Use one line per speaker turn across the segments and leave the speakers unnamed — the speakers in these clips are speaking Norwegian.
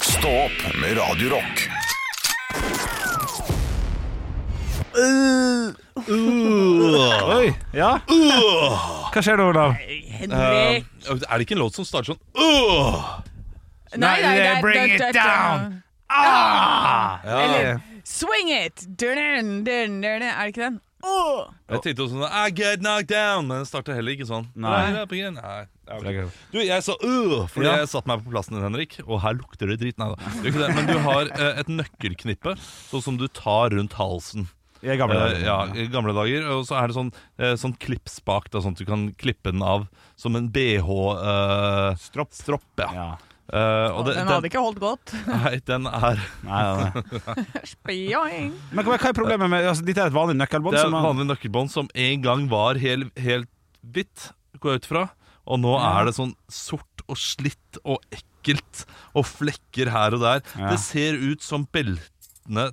Stå opp med Radio Rock.
Oi, ja Hva skjer da, Olav?
Henrik
Eh, Er det ikke en låt som starter sånn Åh! eh,
Nei, bring it down! Ah!
Eller swing it! Dun, dun, dun, dun. Er det ikke den? Åh!
Jeg tenkte også sånn I get knocked down, men den starter heller ikke sånn.
Nei.
Right up again. Nei. ja, ok. Du, jeg sa øh, fordi
Ja.
jeg satte meg på plassen din, Henrik. Og her lukter det dritt. Nei da. Det gjør ikke det, Men du har eh, et nøkkelknippe sånn som du tar rundt halsen.
Jeg er gammel
Eh, ja, i gamle dager. Og så er det sånn, eh, sånn klippspak, da, sånn at du kan klippe den av som en BH-stropp.
Stropp
ja.
Ja,
Eh, og det,
Den hadde ikke holdt godt.
Nei, den er
nei, nei, nei.
Spioing.
Men hva hva er problemet med altså, Dette er et vanlig nøkkelbånd
Det er
som
et
man-
vanlig nøkkelbånd som en gang var hel, helt hvitt, går jeg ut fra. Og nå er det sånn sort og slitt og ekkelt og flekker her og der.
Ja.
Det ser ut som beltene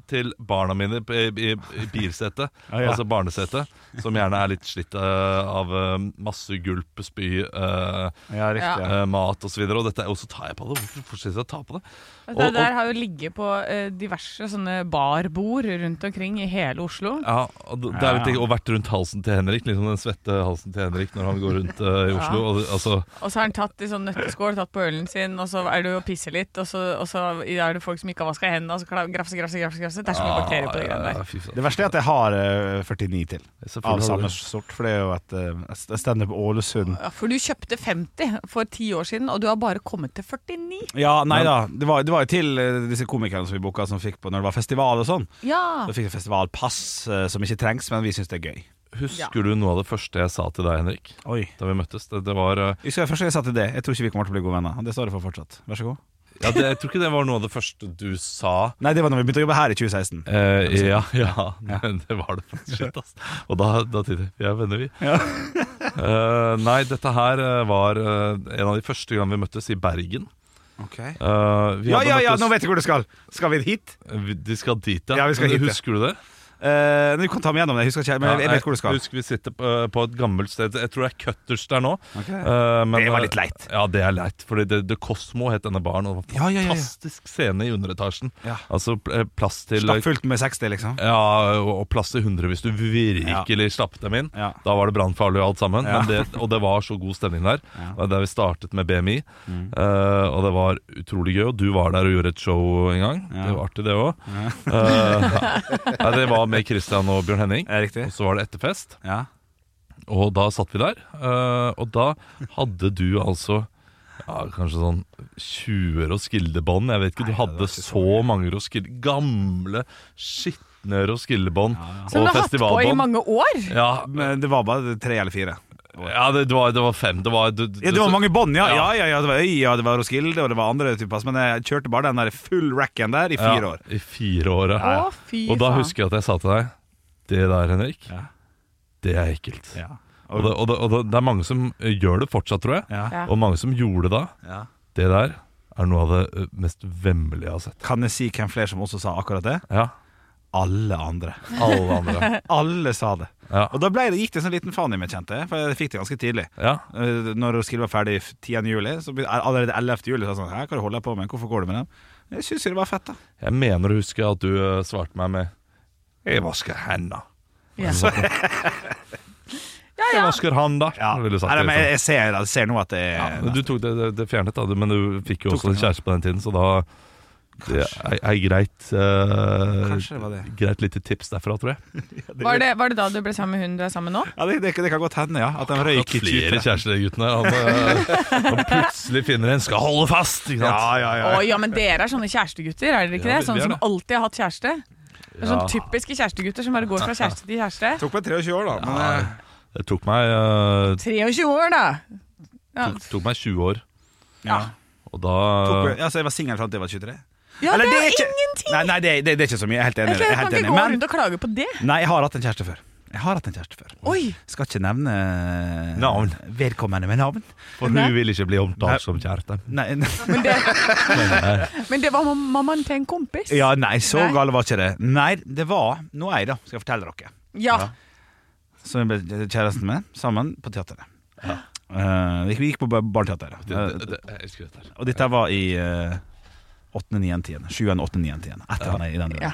til barna mine i, i, i bilsetet,
Ja, ja.
altså barnesetet, som gjerne er litt slitt eh, av eh, masse gulp, spy, eh,
Ja, riktig ja.
eh, mat osv. Og, så videre. og dette er- og så tar jeg på det. Hvorfor fortsetter jeg å ta på det?
Det
Og-
der har jo ligget på eh, diverse sånne barbord rundt omkring i hele Oslo.
Ja, og, det det er litt, ekkelt, og vært rundt halsen til Henrik, liksom den svette halsen til Henrik når han går rundt eh, i Oslo. Og, altså,
Og så har han tatt i sånn nøtteskål, tatt på ølen sin, og så er du og pisser litt, og så, og så er det folk som ikke har vaska hendene, og så kla- grafse, grafse, grafse, grafse. Det er så
Ah,
mye bakterier
Ah,
på det greiene der.
Det verste er at jeg har eh, 49 til Av
Selvfølgelig har du
samme
det.
sort For det er jo et eh, et stand på Ålesund
Ja, for du kjøpte 50 for ti år siden, og du har bare kommet til 49.
Ja, nei da Det var, det var jo til eh, disse komikerne som vi boka Som fikk på når det var festival og sånn
Ja.
Da fikk jeg festivalpass eh, som ikke trengs Men vi synes det er gøy
Husker du noe av det første jeg sa til deg, Henrik?
Oi
Da vi møttes? Det, det var eh,
Husker jeg først jeg sa til det Jeg tror ikke vi kommer til å bli gode venner og Det står det for fortsatt Vær så god
ja, det, Jeg tror ikke det var noe av det første du sa.
Nei, det var når vi begynte å jobbe her i 2016
Eh, ja, ja, men det var det faktisk. Shit, ass. Og da, da tenkte jeg vi er venner, vi. Eh, nei, dette her eh, var eh, en av de første gangene vi møttes, i Bergen.
Ok
Eh, vi
Ja, ja,
hadde
ja,
møttes-
nå vet jeg hvor du skal Skal vi hit?
Vi- De skal dit, ja.
Ja, vi skal
Men
hit, ja.
Husker du det?
Eh, du kan ta meg gjennom det, jeg husker ikke Men jeg, jeg vet hvor du skal
Husk vi sitter på, på et gammelt sted. Jeg tror det er Cutters der nå.
Ok.
Eh, men-
Det var litt leit.
Ja, det er leit. Fordi det, det Cosmo het denne baren, og det
Ja,
var
ja, ja, ja.
fantastisk scene i underetasjen.
Ja.
Altså pl- eh, plass til
Stappfullt med 60 liksom
ja, og og plass til 100 hvis du virkelig slapp dem inn.
Ja.
Da var det brannfarlig og alt sammen.
Ja.
Men det, og det var så god stemning der.
Ja. Mm.
Det var Der vi startet med BMI. eh, og det var utrolig gøy. Og du var der og gjorde et show en gang.
Ja.
Det var artig, det òg. det var med Christian og Bjørn Henning.
Er det riktig?
Og så var det etterfest.
Ja
Og da satt vi der, eh, og da hadde du altså ja, kanskje sånn 20 roskildebånd. Jeg vet ikke, du hadde så mange roskilde Gamle, skitne roskildebånd
Som
og
du har hatt på i
festivalbånd.
mange år.
Ja,
Men det var bare tre eller fire
ja det, det, var, det var fem. Det var, du, du-
Ja, det var mange bånd, ja.
Ja.
Ja, ja, ja, det var Øya, det var Roskilde, og det var andre typer pass, men jeg kjørte bare den der full racken der i
ja,
fire år.
I fire år, ja.
Å, fy
Og da
faen.
husker jeg at jeg sa til deg Det der, Henrik,
Ja.
det er ekkelt.
Ja.
Og, det, og, det, og det, det er mange som eh, gjør det fortsatt, tror jeg.
Ja.
Ja.
Og mange som gjorde det da.
Ja.
Det der er noe av det ø, mest vemmelige jeg har sett.
Kan jeg si hvem flere som også sa akkurat det?
Ja,
Alle andre.
alle andre.
Alle sa det.
Ja.
Og da ble det, gikk det en sånn liten faen i meg, kjente jeg, for jeg fikk det ganske tidlig.
Ja.
Eh, Når Roskilde var ferdig 10. juli, så be- allerede 11. juli sa jeg sånn Hæ, hva holder jeg på med? Hvorfor går du med dem? Jeg syns jo det var fett, da.
Jeg mener å huske at du eh, svarte meg med Jeg vasker henda.
Ja.
Jeg vasker handa, ville du sagt.
Nei,
det,
men jeg,
liksom.
jeg, ser, jeg ser nå at det er
Men du tok det, det, det fjernet, da, du- men du fikk jo
Tok
også en
det, ja.
kjæreste på den tiden, så da det er, er greit eh,
Kanskje det var det.
Greit lite tips derfra, tror jeg.
Var det, var det da du ble sammen med hun du er sammen med nå?
Ja, det, det, det kan godt hende, ja. At de røyk i 2013.
kjærester, de guttene. her. Han, eh, han plutselig finner en, skal holde fast! Ikke
Ja,
sant?
ja,
Å
ja.
ja, men dere er sånne kjærestegutter, er dere ikke
Ja,
det?
vi- vi
Sånne
er
som
det.
alltid har hatt kjæreste. Det er sånn
Ja.
Sånne typiske kjærestegutter som bare går fra kjæreste til kjæreste.
Tok meg 23 år, da. Men, eh,
Det tok meg, eh,
23 år, da! Ja,
tok, tok meg 20 år,
ja.
og da
Tok, ja, så jeg var singel fram til jeg var 23?
ja
Eller,
det
det
er
er ikke-
ingenting!
Nei, nei det, det, det er ikke så mye. Jeg er helt enig. i
Jeg
det, Jeg er
kan
helt
ikke
enig.
gå
Men
rundt og klage på det.
nei, jeg har hatt en kjæreste før. Jeg har hatt en kjæreste før.
Oi!
Skal ikke nevne
Navn.
vedkommende med navn.
For hun vil ikke bli omtalt som kjæreste.
Nei, nei.
Men det, men det var mam- mammaen til en kompis.
Ja, nei, så
Nei.
gale var ikke det. Nei, det var noe ei, da, skal jeg fortelle dere.
Ja.
Som jeg ble kjæresten med, sammen på teateret. Eh, vi gikk- vi gikk på bar- Barneteatret.
Det,
Eh,
det, det, jeg elsker dette her.
og dette var i eh, 8., 9., 10. 7., 8., 9., 10. Et eller annet i den runden.
Ja.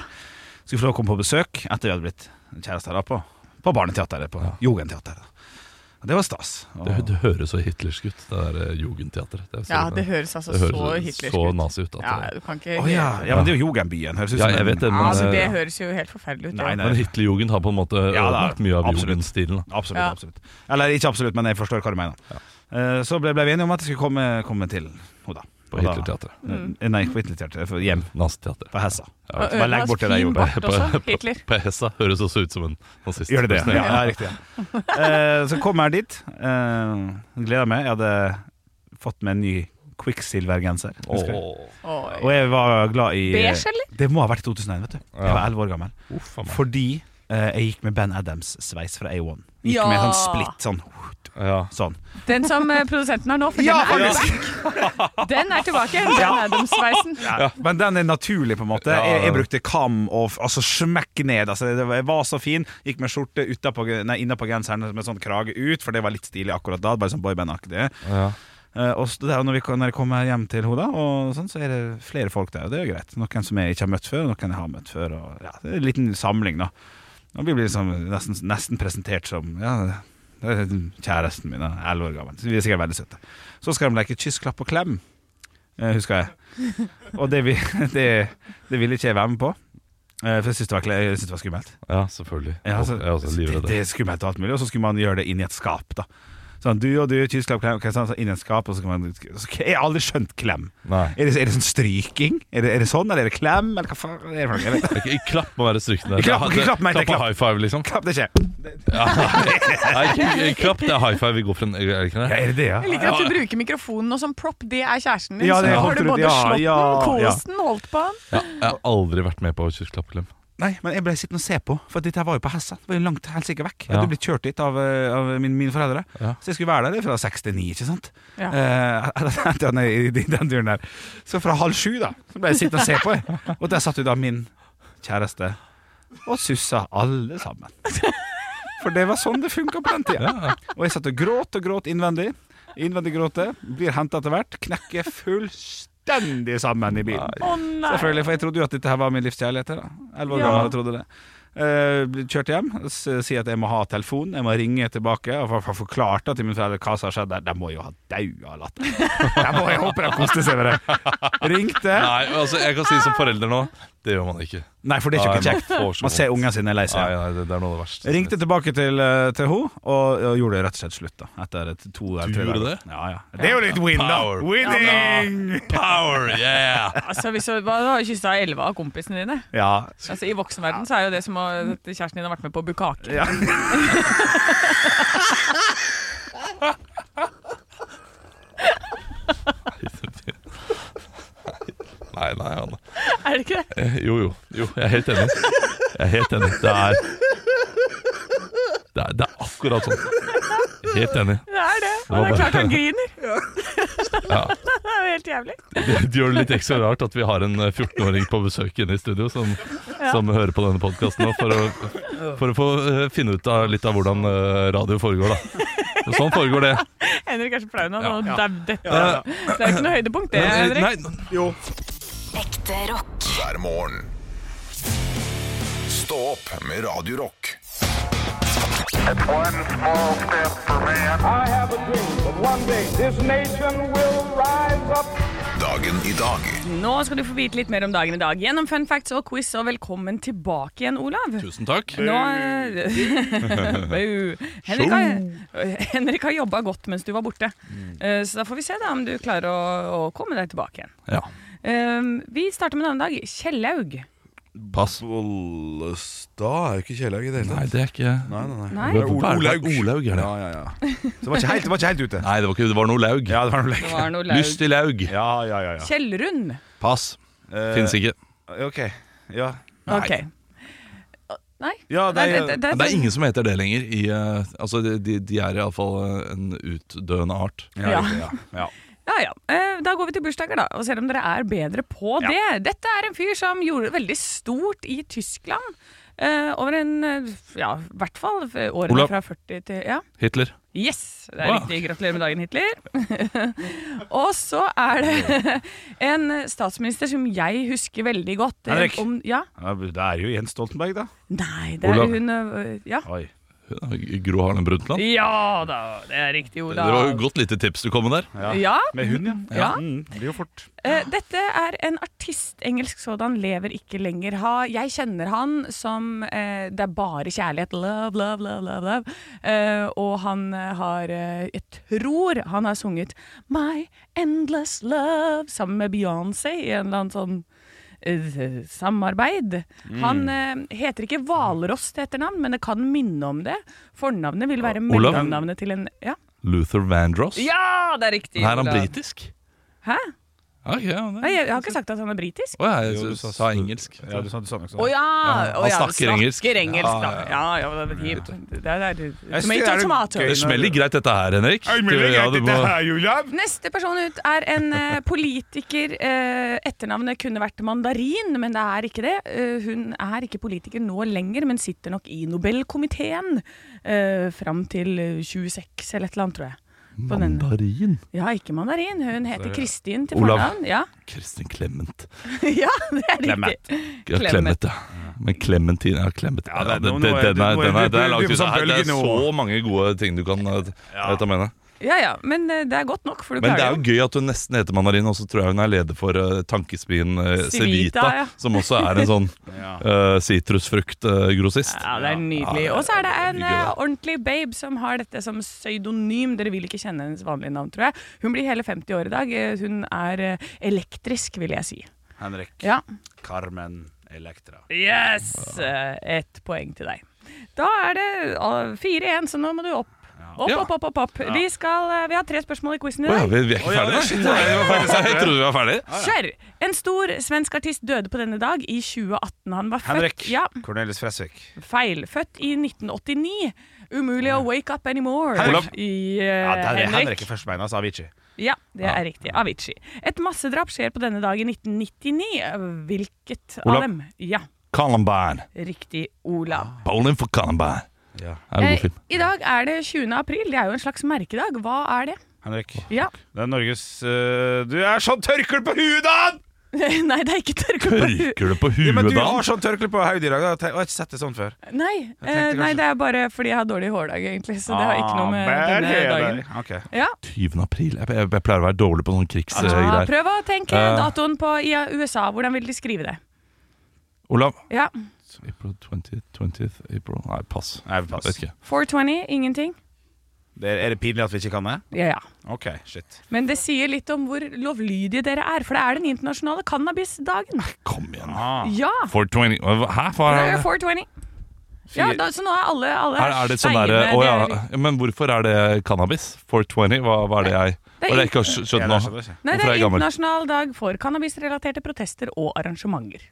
Skulle få lov å komme på besøk etter vi hadde blitt kjærester da, på, på barneteateret, på Jugendteateret. Og Det var stas. Og,
Det, det høres så hitlersk ut, det der eh, jugendteatret. Det, er så-
Ja, det høres altså
det høres
så
så
hitlersk
nazi ut at
Ja,
det-
du kan ikke
Å ja. ja, men det er jo Jugendbyen. Høres ut
Ja,
som
jeg
en-
vet det, men-
Ja, altså,
eh,
Det
ja.
høres jo helt forferdelig ut.
Nei,
ja.
nei.
Men Hitlerjugend har på en måte
Ja, det er-
ødelagt mye av
absolutt.
jugendstilen. da.
Absolutt.
Ja.
absolutt Eller ikke absolutt, men jeg forstår hva du mener. Eh, Så ble, ble vi enige om at jeg skulle komme, komme til henne.
På Hitlerteatret.
Mm.
Eh, Nei, på Hitlerteatret. for Hjem
Naziteatret.
på Hessa.
Ja,
Og
bare legg
Ødelands
bort det der,
fin
Jo.
bart også,
På- på-
Hitler.
På Hessa høres også ut som en nazist.
Gjør det det?
Ja.
Ja, ja riktig. Ja. Eh, så kom jeg dit. Eh, gleder meg. Jeg hadde fått meg en ny Quicksilver-genser. husker jeg.
Åh,
Oi.
Og jeg var glad i
Beige, eller?
Det må ha vært i 2001, vet du.
Ja.
Jeg var 11 år gammel.
uff a meg.
Fordi eh, jeg gikk med Ben Adams-sveis fra A1. Gikk
Ja.
med sånn splitt, sånn.
Ja.
sånn.
Den som eh, produsenten har nå, for
Ja,
den, er
faktisk.
back. den er tilbake. Den Adams-sveisen.
Ja. Men den er naturlig, på en måte.
Ja, ja, ja.
Jeg, jeg brukte kam og f- altså, smekk ned. Altså, det var, jeg var så fin. Gikk med skjorte utapå- nei, innapå genseren med sånn krage ut, for det var litt stilig akkurat da. Bare sånn boyband-aktig.
Ja.
Eh, og så det er jo når, vi, når jeg kommer hjem til henne, da, og sånn, så er det flere folk der. Og det er jo greit. Noen som jeg ikke har møtt før, og noen jeg har møtt før. Og, ja, det er en liten samling, da. Og vi blir liksom nesten, nesten presentert som ja, det er kjæresten min, da, 11 år gammel. Så vi er sikkert veldig søte. Så skal de leke kyss, klapp og klem, eh, husker jeg. Og det, vi, det, det ville ikke jeg være med på. eh, For jeg syntes det, var kle- jeg syntes det var skummelt.
ja, selvfølgelig.
Ja, altså,
jeg er også
det,
livredd.
det er skummelt og alt mulig, og så skulle man gjøre det inn i et skap. da Sånn, Du og du, kyss, klapp, klem, ok, sånn, så inn i et skap. Og så kan man, så, jeg har aldri skjønt klem.
Nei.
Er det, er det sånn stryking? Er det, er det sånn, eller er det klem? Eller hva faen er det for noe? Jeg vet ikke.
Ikke, klapp må være strykende.
Klapp-
Det- det-
klapp meg, det-
klapp og
klapp.
high five, liksom.
Klapp, det skjer.
Nei, ikke, ikke klapp, det er high five vi går for en Er det ikke
Ja,
det?
er det det,
Jeg
ja?
liker at du bruker mikrofonen nå som prop. Det er kjæresten din.
Ja, det
så nå har
holdt
du
rundt-
både
ja,
slått
ja,
den,
ja.
kost den, holdt på den.
Ja, jeg har aldri vært med på kyss, klapp, klem.
Nei, men jeg ble sittende og se på, for dette her var jo på Hessa. Det var jo langt helsike vekk. Jeg
Ja.
hadde blitt kjørt dit av, eh, av min, mine foreldre.
Ja.
Så jeg skulle være der fra seks til ni, ikke sant.
Ja.
Eh, etter den- i den turen der. Så fra halv sju, da, så ble jeg sittende og se på. Jeg. Og der satt jo da min kjæreste og sussa alle sammen. For det var sånn det funka på den tida. Og jeg satt og gråt og gråt innvendig. Innvendig gråte. Blir henta etter hvert. Knekker fullstendig sammen i bilen.
Å nei!
Selvfølgelig, for jeg trodde jo at dette her var min livskjærlighet. da. 11 år
Ja.
gammel, jeg trodde det. Eh, blir kjørt hjem, s- sier at jeg må ha telefon, jeg må ringe tilbake og få- få forklart da til mine foreldre hva som har skjedd. der. De må jo ha daua av latter. De må jeg håper de koste seg med det. Ringte.
Nei, altså, jeg kan si som forelder nå det gjør man ikke.
Nei, for det er
Nei,
ikke
man
kjekt.
får så
Man ser
vondt.
ungene sine lei
Nei,
seg.
nei, det, det er noe av det verste.
Ringte tilbake til, eh, til henne og, og gjorde det rett og slett slutt. da Etter et, to eller
Du
tre
gjorde
dager.
det?
Ja, ja. Det er jo litt win, da.
Power.
Winning!
Power, yeah!
Altså, hvis du, du har jo kyssa elleve av kompisene dine.
Ja.
Altså, I voksenverden så er jo det som å- at kjæresten din har vært med på å bukke hake.
ja.
Nei, nei, Anne.
Er det ikke det?
Eh, Jo, jo. jo jeg er helt enig. Jeg er helt enig. Det er Det er, det er akkurat sånn. Helt enig.
Det er det. Og det er klart han griner. Det er jo helt jævlig.
Det det gjør det litt ekstra rart at vi har en eh, 14-åring på besøk inne i studio som, som hører på denne podkasten nå, for å, for å få eh, finne ut av litt av hvordan eh, radio foregår, da. Sånn foregår det.
Henrik er så flau nå.
Ja.
nå dab- Dette
Ja.
Det er jo ikke noe høydepunkt, det,
Men, eh,
Henrik.
nei,
Ekte rock.
hver morgen. Stå opp med Radio Rock.
One small step for man.
I have a dream that one day this nation will rise up.
Dagen i dag
Nå skal du få vite litt mer om dagen i dag gjennom fun facts og quiz, og velkommen tilbake igjen, Olav.
tusen takk.
Nå eh, Bau. Henrik har, Henrik har jobba godt mens du var borte,
Mm.
Eh, så da får vi se da om du klarer å, å komme deg tilbake igjen.
Ja.
Eh, vi starter med en annen dag. Kjellaug.
Pass.
Bollestad er jo ikke Kjellaug i det hele
Nei,
tatt.
det er ikke
Nei, nei, nei.
Nei.
Hva- hva er det? Olaug, er det?
Ja, ja, ja.
Så det var ikke helt, det var ikke helt ute.
Nei, det var, ikke, det var noe laug.
Ja, det var noe
Det
lekk.
var noe laug.
Lystig laug.
Ja, Eh, ja, ja, ja.
Kjellrund.
Pass. Fins ikke.
Ok. Ja.
Ok. Nei?
Ja, det er-
det,
Men det er ingen som heter det lenger. I, eh, altså, de, de- de er iallfall eh, en utdøende art.
Ja.
riktig, ja. ja.
Ja, ja. Eh, Da går vi til bursdager, da. Og selv om dere er bedre på det. Dette er en fyr som gjorde det veldig stort i Tyskland. eh, over en eh, Ja, i hvert fall eh, årene
Olav.
fra 40 til Ja.
Hitler.
Yes! Det er
Wow.
riktig. Gratulerer med dagen, Hitler. og så er det en statsminister som jeg husker veldig godt. Eh,
Henrik.
Om, ja?
Ja, Det er jo Jens Stoltenberg, da.
Nei, det er
Olav.
hun eh, Ja.
Oi.
Gro Harlem Brundtland.
Ja da, det er riktig,
Det var jo
Olav.
et godt lite tips du kom med der.
Ja.
Ja,
Med hund, ja.
Ja.
Mm, det blir jo fort.
Eh, dette er en artist, engelsk sådan, lever ikke lenger. Ha, jeg kjenner han som eh, Det er bare kjærlighet. Love, love, love. love, love. Eh, og han eh, har eh, Jeg tror han har sunget My Endless Love sammen med Beyoncé i en eller annen sånn eh, samarbeid. Han eh, heter ikke Hvalross til etternavn, men det kan minne om det. Fornavnet vil være
Olav?
mellomnavnet til en Ja,
Luther Vandross.
ja det er riktig!
Her er han
Olav.
britisk.
Hæ?
Ja, ok, ja, det-
Nei, jeg, jeg har ikke sagt at han er britisk.
Å ja, jeg
Jo, du
sa,
sa-
sa engelsk.
Ja, du sa det samme.
Å ja!
han
å ja,
snakker engelsk.
Snakker engelsk, da.
Ja,
Ja, ja, det er kjipt. Det er- det er
Jeg synes
tomato,
det er
tomato.
gøy.
Det smeller greit, dette her, Henrik. Ja, du må-
Neste person ut er en eh, politiker. Eh, etternavnet kunne vært Mandarin, men det er ikke det. Eh, hun er ikke politiker nå lenger, men sitter nok i Nobelkomiteen eh, fram til eh, 26 eller et eller annet, tror jeg. På den-
Mandarin.
Ja, ikke mandarin. Hun heter Kristin til
Olav.
fornavn. Ja.
Kristin Clement.
ja, det er
Clement.
riktig.
Ja,
Clement.
Clement, ja. Men Clementine ja, Clement.
Ja,
Ja,
det-
det, det,
nå- nå
den
er-
er, den
nå er-
er,
du-
det er
du-
lagt
du
ut.
på
så her- Det er
bølgen nå.
så mange gode ting du kan eh, ta med deg.
Ja ja, men eh, det er godt nok, for du
Men det
klarer
er jo gøy at hun nesten heter Mandarin, og så tror jeg hun er leder for eh, tankespien eh,
Civita,
Civita,
ja.
som også er en sånn
Ja.
eh, sitrusfruktgrossist.
Ja, det er nydelig.
Ja, det er
og så er det en
veldig gøy,
eh,
da.
ordentlig babe som har dette som pseudonym. Dere vil ikke kjenne hennes vanlige navn, tror jeg. Hun blir hele 50 år i dag. Eh, Hun er eh, elektrisk, vil jeg si.
Henrik.
Ja.
Carmen Elektra.
Yes! Eh, Ett poeng til deg. Da er det eh, 4-1, så nå må du opp. Opp,
Ja.
opp, opp. opp, opp. Vi, skal, eh, vi har tre spørsmål i quizen i
Å ja,
dag.
vi, vi er ikke ferdige, da? Jeg trodde vi var ferdige.
Kjør! En stor svensk artist døde på denne dag i 2018. Han var født
Henrik.
Ja, Eh,
Cornelis Fresvik.
Feil. Født i 1989. Umulig å wake up anymore.
Henrik.
I, eh,
Ja, det er det
Henrik.
Henrik er førstebeina, altså Avicii.
Ja, det er riktig. Avicii. Et massedrap skjer på denne dag i 1999. Hvilket
Olav.
av dem? Ja,
Columbine.
riklig, Olav.
Bowling for Columbine.
Ja.
Ah, Det er en god
Eh,
film.
I dag er det 20. april. Det er jo en slags merkedag. Hva er det?
Henrik.
Ja.
Det er Norges øh, Du er sånn tørkel på huet, da!
Nei, det er ikke tørke på huet.
Tørker du på
Ja,
huet,
men du
da?
har sånn tørkle på hodet i dag. da. Jeg har ikke sett det sånn før.
Nei,
Jeg
eh,
tenkte
nei,
kanskje-
det er bare fordi jeg har dårlig hårdag, egentlig. Så det har ikke noe med
Ah,
denne
bare
dagen
det. Ok.
Ja,
20. april. Jeg, jeg, jeg pleier å være dårlig på sånne
ja
krigsgreier.
Prøv å tenke
Eh.
datoen på i USA. Hvordan vil de skrive det?
Olav.
Ja,
April 20th, 20th April. Nei, pass.
Nei, pass.
Jeg vet ikke.
420, ingenting.
Det er, er det pinlig at vi ikke kan det?
Ja, ja.
OK, shit.
Men det sier litt om hvor lovlydige dere er, for det er den internasjonale cannabisdagen.
Kom igjen.
Ah.
Ja!
420 Hva- Hæ? Hva
Det
er
er
det?
420. Ja, da, så nå er alle, alle
Er, er det sånn derre
steine,
Å
det
ja.
er-
ja, Men hvorfor er det cannabis? 420? Hva, hva er det
Det
jeg
er
Hva er det jeg ikke har skj- skjønt
Ja,
nå?
det skjønner jeg ikke.
Nei, det
Hvorfor er
er
jeg gammel?
internasjonal dag for cannabisrelaterte protester og arrangementer.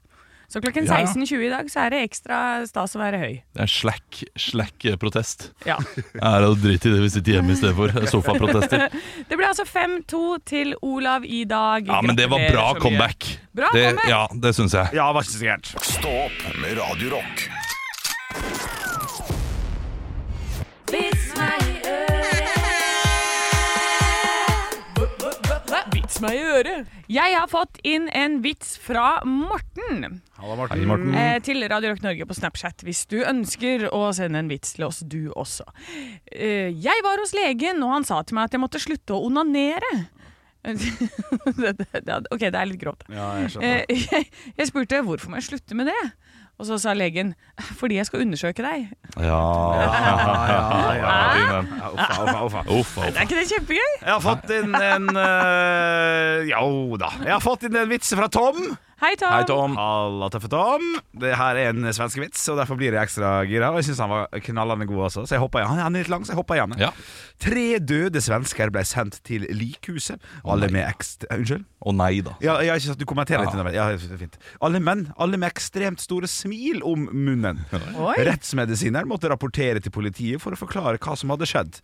Så klokken
Ja, ja.
16.20 i dag så er det ekstra stas å være høy.
Det er slack, slack eh, protest.
Ja.
Er det drit i det vi sitter hjemme i stedet for? Sofaprotester.
Det ble altså 5-2 til Olav i dag.
Ja, men det var bra
Gratulerer så mye.
comeback.
Bra
Det,
comeback.
ja, det syns jeg.
Ja, det var ikke så gærent.
Stå opp med Radio Rock.
Vits meg i øret. Jeg har fått inn en vits fra Morten.
Halla, Morten.
Hei, Morten.
Eh, til Radio Rock Norge på Snapchat hvis du ønsker å sende en vits til oss, du også. Eh, jeg var hos legen, og han sa til meg at jeg måtte slutte å onanere. det, det, det, ok, det er litt grovt.
Ja, jeg skjønner.
Eh, jeg, jeg spurte hvorfor må jeg slutte med det? Og så sa legen fordi jeg skal undersøke deg.
Ja,
ja, ja. Uffa, uffa, uffa.
Uff, uff.
Er ikke det kjempegøy?
Jeg har fått inn en øh, Jo da. Jeg har fått inn en vits fra Tom.
Hei, Tom.
Halla, tøffe Tom. Det her er en svenske vits, og derfor blir jeg ekstra gira. Og jeg syns han var knallende god også, så jeg hoppa i han. Han er litt lang, så jeg hoppa i han.
Ja.
Tre døde svensker ble sendt til likhuset. Alle med ekst... Unnskyld?
Å nei, da.
Ja, jeg har ikke sagt, du kommenterer litt underveis. Ja, det er fint. Alle menn, alle med ekstremt store smil om munnen.
Oi.
Rettsmedisineren måtte rapportere til politiet for å forklare hva som hadde skjedd.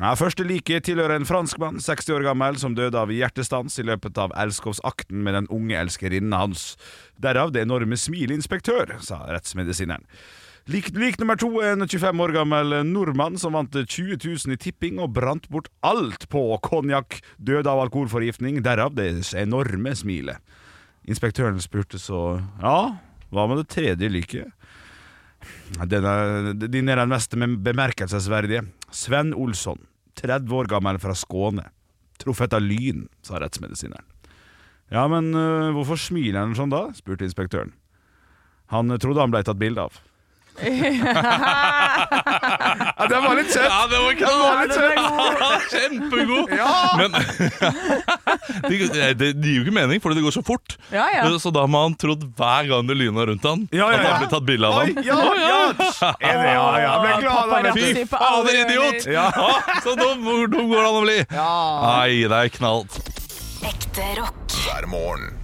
Ja, første like tilhører en franskmann, 60 år gammel, som døde av hjertestans i løpet av elskovsakten med den unge elskerinnen han Jones. Derav det enorme smilet, inspektør, sa rettsmedisineren. Lik, lik nummer to er en 25 år gammel nordmann som vant 20 000 i tipping og brant bort alt på konjakk, døde av alkoholforgiftning, derav det enorme smilet. Inspektøren spurte så Ja, hva med det tredje liket? Denne, din er den mest mem- bemerkelsesverdige. Sven Olsson, 30 år gammel fra Skåne. Truffet av lyn, sa rettsmedisineren. Ja, men øh, hvorfor smiler han sånn da? spurte inspektøren. Han øh, trodde han ble tatt bilde av. ja, den var litt søt!
Ja, det var
Den var litt søt.
Kjempegod!
Ja!
Men det, det, det gir jo ikke mening, for det går så fort.
Ja, ja.
Så da må han trodd hver gang det lyna rundt han
Ja, ja,
at
ja.
han ble tatt bilde av
Oi,
han.
ja, ja. Er det, ja, ja. Jeg ble glad av det.
Fy
Paparazzi på alle
fader, idiot!
Ja.
Ah, så dum, hvor dum går det an å bli? Nei, det er knall.
Ekte rock.
hver morgen.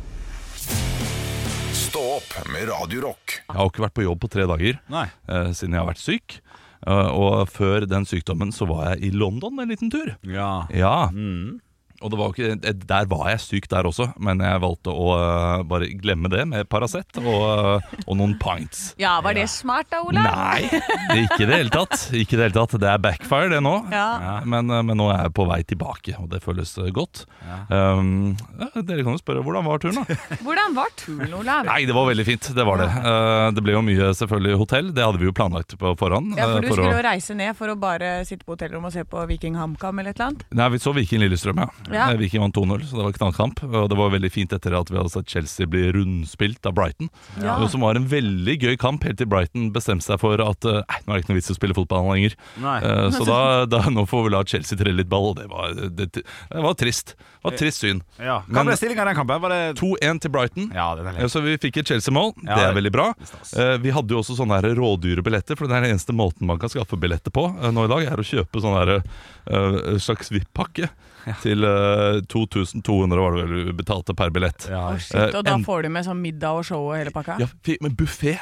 Stå opp med Radio Rock.
Jeg har ikke vært på jobb på tre dager
Nei.
eh, siden jeg har vært syk. Eh, og før den sykdommen så var jeg i London en liten tur.
Ja.
Ja. Mm. Og det var jo ikke, eh, der var jeg syk der også, men jeg valgte å eh, bare glemme det med Paracet og, eh, og noen pints.
Ja, var det smart da, Olav?
Nei, det er ikke i det hele tatt. Ikke i det hele tatt. Det er backfire, det nå.
Ja.
Men, eh, men nå er jeg på vei tilbake, og det føles eh, godt. Um, ja, dere kan jo spørre hvordan var turen, da?
Hvordan var turen, Olav?
Nei, det var veldig fint. Det var det. Eh, det ble jo mye selvfølgelig hotell. Det hadde vi jo planlagt på forhånd.
Ja, for
eh,
du
for å-
skulle jo reise ned for å bare sitte på hotellrommet og se på Viking HamKam eller et eller annet.
Nei, vi så Viking Lillestrøm, ja.
Ja.
Eh, Viking vant 2-0, så det var knallkamp. Og det var veldig fint etter at vi hadde sett Chelsea bli rundspilt av Brighton.
Ja.
Og Som var en veldig gøy kamp, helt til Brighton bestemte seg for at eh, Nei, nå er det ikke noe vits i å spille fotball lenger.
Nei.
Eh, så da, da, nå får vi la Chelsea trelle litt ball, og det var, det, det var trist. Det var et trist syn.
ja. Hva
Men-
ble stillinga i den kampen? Var det
2-1 til Brighton.
Ja, den er
Eh,
lett.
Så vi fikk et Chelsea-mål,
Ja,
det er
det-
veldig bra.
stas.
Eh, Vi hadde jo også sånne her rådyre billetter, for det er den eneste måten man kan skaffe billetter på eh, nå i dag, er å kjøpe sånn her eh, slags VIP-pakke til eh, 2200 var det vel vi betalte per billett. Eh,
Ja.
Å, shit, og da
en-
får du med sånn middag og show og hele pakka?
Ja, fi- men buffé,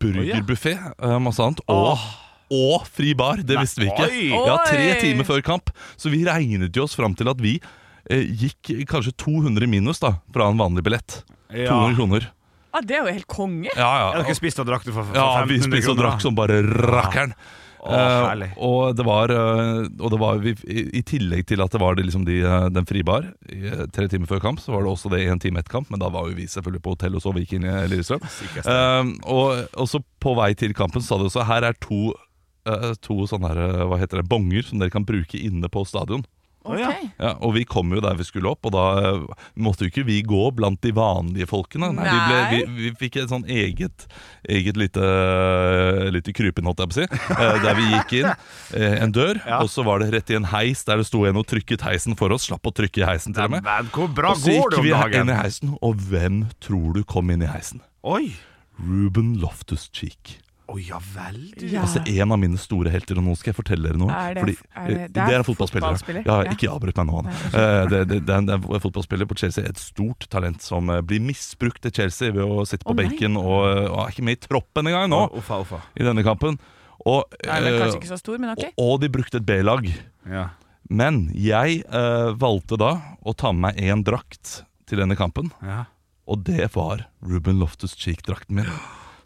burgerbuffé, eh, masse annet, og, og fri bar, det visste vi ikke.
Oi!
Ja, tre
Oi!
timer før kamp, så vi regnet jo oss fram til at vi eh, gikk kanskje 200 minus da, fra en vanlig billett.
Ja.
200 kroner.
Ah, det er jo helt konge!
Ja, ja.
Dere spiste og drakk det for for
Ja, vi
1500
spiste og
kroner,
drakk
da.
som bare rakkeren.
Å,
Eh,
herlig.
og det var, eh, og det var vi, i, I tillegg til at det var det liksom de, eh, den fribar i, eh, tre timer før kamp, så var det også det én time etter kamp, men da var jo vi selvfølgelig på hotell og så Viking i Lillestrøm. Eh, og, og så på vei til kampen så sa de også her er to, eh, to sånne her, eh, hva heter det, bonger som dere kan bruke inne på stadion.
Å, ja.
Ok.
Ja, og vi kom jo der vi skulle opp, og da eh, måtte jo ikke vi gå blant de vanlige folkene. Nei, Vi, ble, vi, vi fikk et sånn eget, eget lite, lite krypinn, holdt jeg på å si, eh, der vi gikk inn eh, en dør, og så var det rett i en heis der det sto en og trykket heisen for oss. Slapp å trykke i heisen, til og med.
Men hvor bra
Og så
går
gikk
det om
vi
dagen?
inn i heisen, og hvem tror du kom inn i heisen?
Oi!
Ruben Loftus-Cheek.
Å ja vel, du.
Ja.
Altså En av mine store helter, og nå skal jeg fortelle dere noe.
Er det-
Fordi,
er det-
eh,
det er
en fotballspiller.
fotballspiller,
Ja,
ja.
Ikke avbryt meg nå. Anne. Eh, Det, det, det, er en- det er en fotballspiller på Chelsea, et stort talent som eh, blir misbrukt til Chelsea ved å sitte på
Å, nei.
benken og, eh, og er ikke med i troppen engang nå,
Uffa, uffa.
i denne kampen. Og,
Nei, men
eh,
kanskje ikke så stor, men ok.
og, og de brukte et B-lag.
Ja.
Men jeg eh, valgte da å ta med meg én drakt til denne kampen,
Ja.
og det var Ruben Loftus-Cheek-drakten min.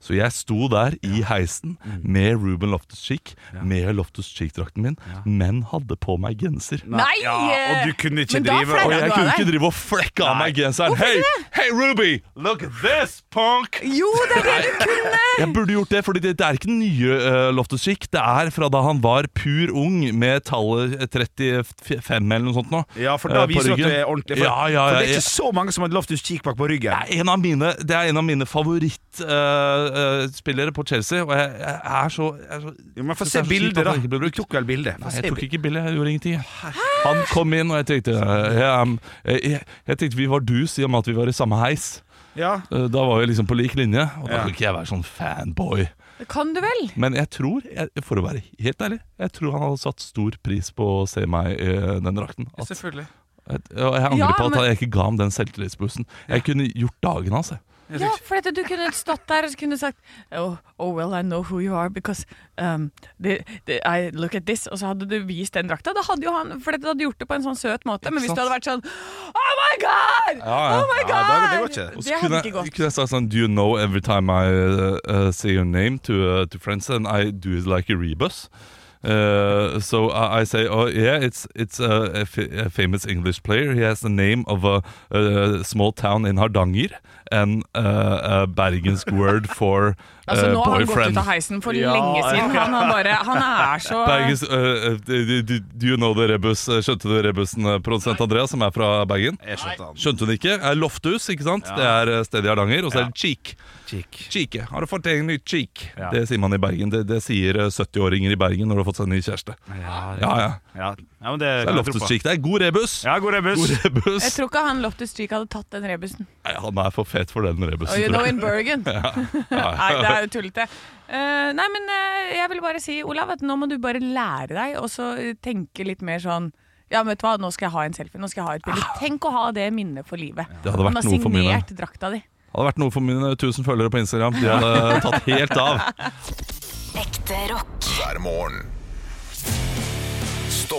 Så jeg sto der i heisen
Mm.
med Ruben Loftus-Cheek, med Loftus-Cheek-drakten min, men hadde på meg genser.
Nei!
Ja, og du kunne ikke
Men da
drive
Og
fleier
jeg
du av
kunne
deg.
ikke drive og flekke av meg genseren. Hei, hey Ruby! Look at this, punk!
Jo, det er det du kunne!
Jeg burde gjort det, for det, det er ikke den nye eh, Loftus-Cheek. Det er fra da han var pur ung, med tallet 35 eller noe sånt nå.
Ja, for da
eh, på
viser du at du
ryggen.
er ordentlig. For, for
Ja, ja,
det
ja,
er
jeg-
ikke så mange som har Loftus Cheekback på ryggen.
Det er en av mine, det er en av mine favorittspillere på Chelsea, og jeg, jeg er så, jeg er så
Jo, men få
synes
se
det er så kjipt
bildet,
at
da.
han ikke ble
Du
brukt.
tok vel bilde?
Nei, jeg tok ikke bilde, jeg gjorde ingenting. Han kom inn, og jeg tenkte eh, jeg, jeg, jeg tenkte vi var dus i og med at vi var i samme heis.
Ja.
Eh, Da var vi liksom på lik linje, og da
Ja.
kunne ikke jeg være sånn fanboy.
Det kan du vel?
Men jeg tror, jeg, for å være helt ærlig, jeg tror han hadde satt stor pris på å se meg i den drakten. At,
Selvfølgelig.
at, eh, og jeg angrer
Ja,
på at
men-
jeg ikke ga ham den selvtillitsbussen. Jeg kunne gjort dagen hans, jeg.
Ja, for at du kunne stått der og så kunne du sagt oh, oh well, I know who you are because um, the, the, I look at this. Og så hadde du vist den drakta. Da hadde jo han, for at du hadde gjort det på en sånn søt måte. Men hvis du hadde vært sånn Oh my God!
ja.
Oh my
Ja,
God!
da- det går ikke.
Og så
Det
kunne
hadde ikke
jeg-
gått.
Kunne jeg sagt sånn Do you know every time I uh, uh, say your name to, uh, to friends and I do it like a rebus? Uh, so I, I say, oh yeah, it's it's uh, a, fa- a famous English player. He has the name of a, a small town in Hardanger and uh, a Bergensk word for uh,
Altså, nå har han gått
boyfriend.
ut av heisen for lenge siden. Han, han, bare, han er så
Bergens, uh, uh, do, do, do you know the rebus? Uh, Skjønte du rebusen, uh, produsent Andreas, som er fra Bergen?
Jeg skjønte han.
Skjønte hun ikke? Er Lofthus, ikke sant? Det er eh, stedet i Hardanger. Og så er det Cheek.
Kikk.
Cheeke. Har du fått deg en ny cheek?
Ja.
Det sier man i Bergen. Det, det sier eh, 70-åringer i Bergen når du har fått seg en ny kjæreste.
Ja,
Ja, ja.
ja. ja, men det
Det er
kan jeg tro
Lofthus
på.
Cheek. Det er god rebus.
Ja, god rebus.
God rebus.
Jeg tror ikke han Loftus Cheek hadde tatt den rebusen.
Nei, han er for fet for den rebusen,
Oh, you know
tror jeg.
in Bergen. Nei, det er jo tullete. Eh, nei, men eh, jeg vil bare si, Olav, at nå må du bare lære deg og så eh, tenke litt mer sånn ja, men vet du hva, nå skal jeg ha en selfie, nå skal jeg ha et bilde. Tenk å ha det minnet for livet.
Det hadde vært noe for mine.
Han har signert drakta di.
Hadde vært noe for mine 1000 følgere på Instagram. De hadde tatt helt av.
Ekte rock.
hver morgen. Stå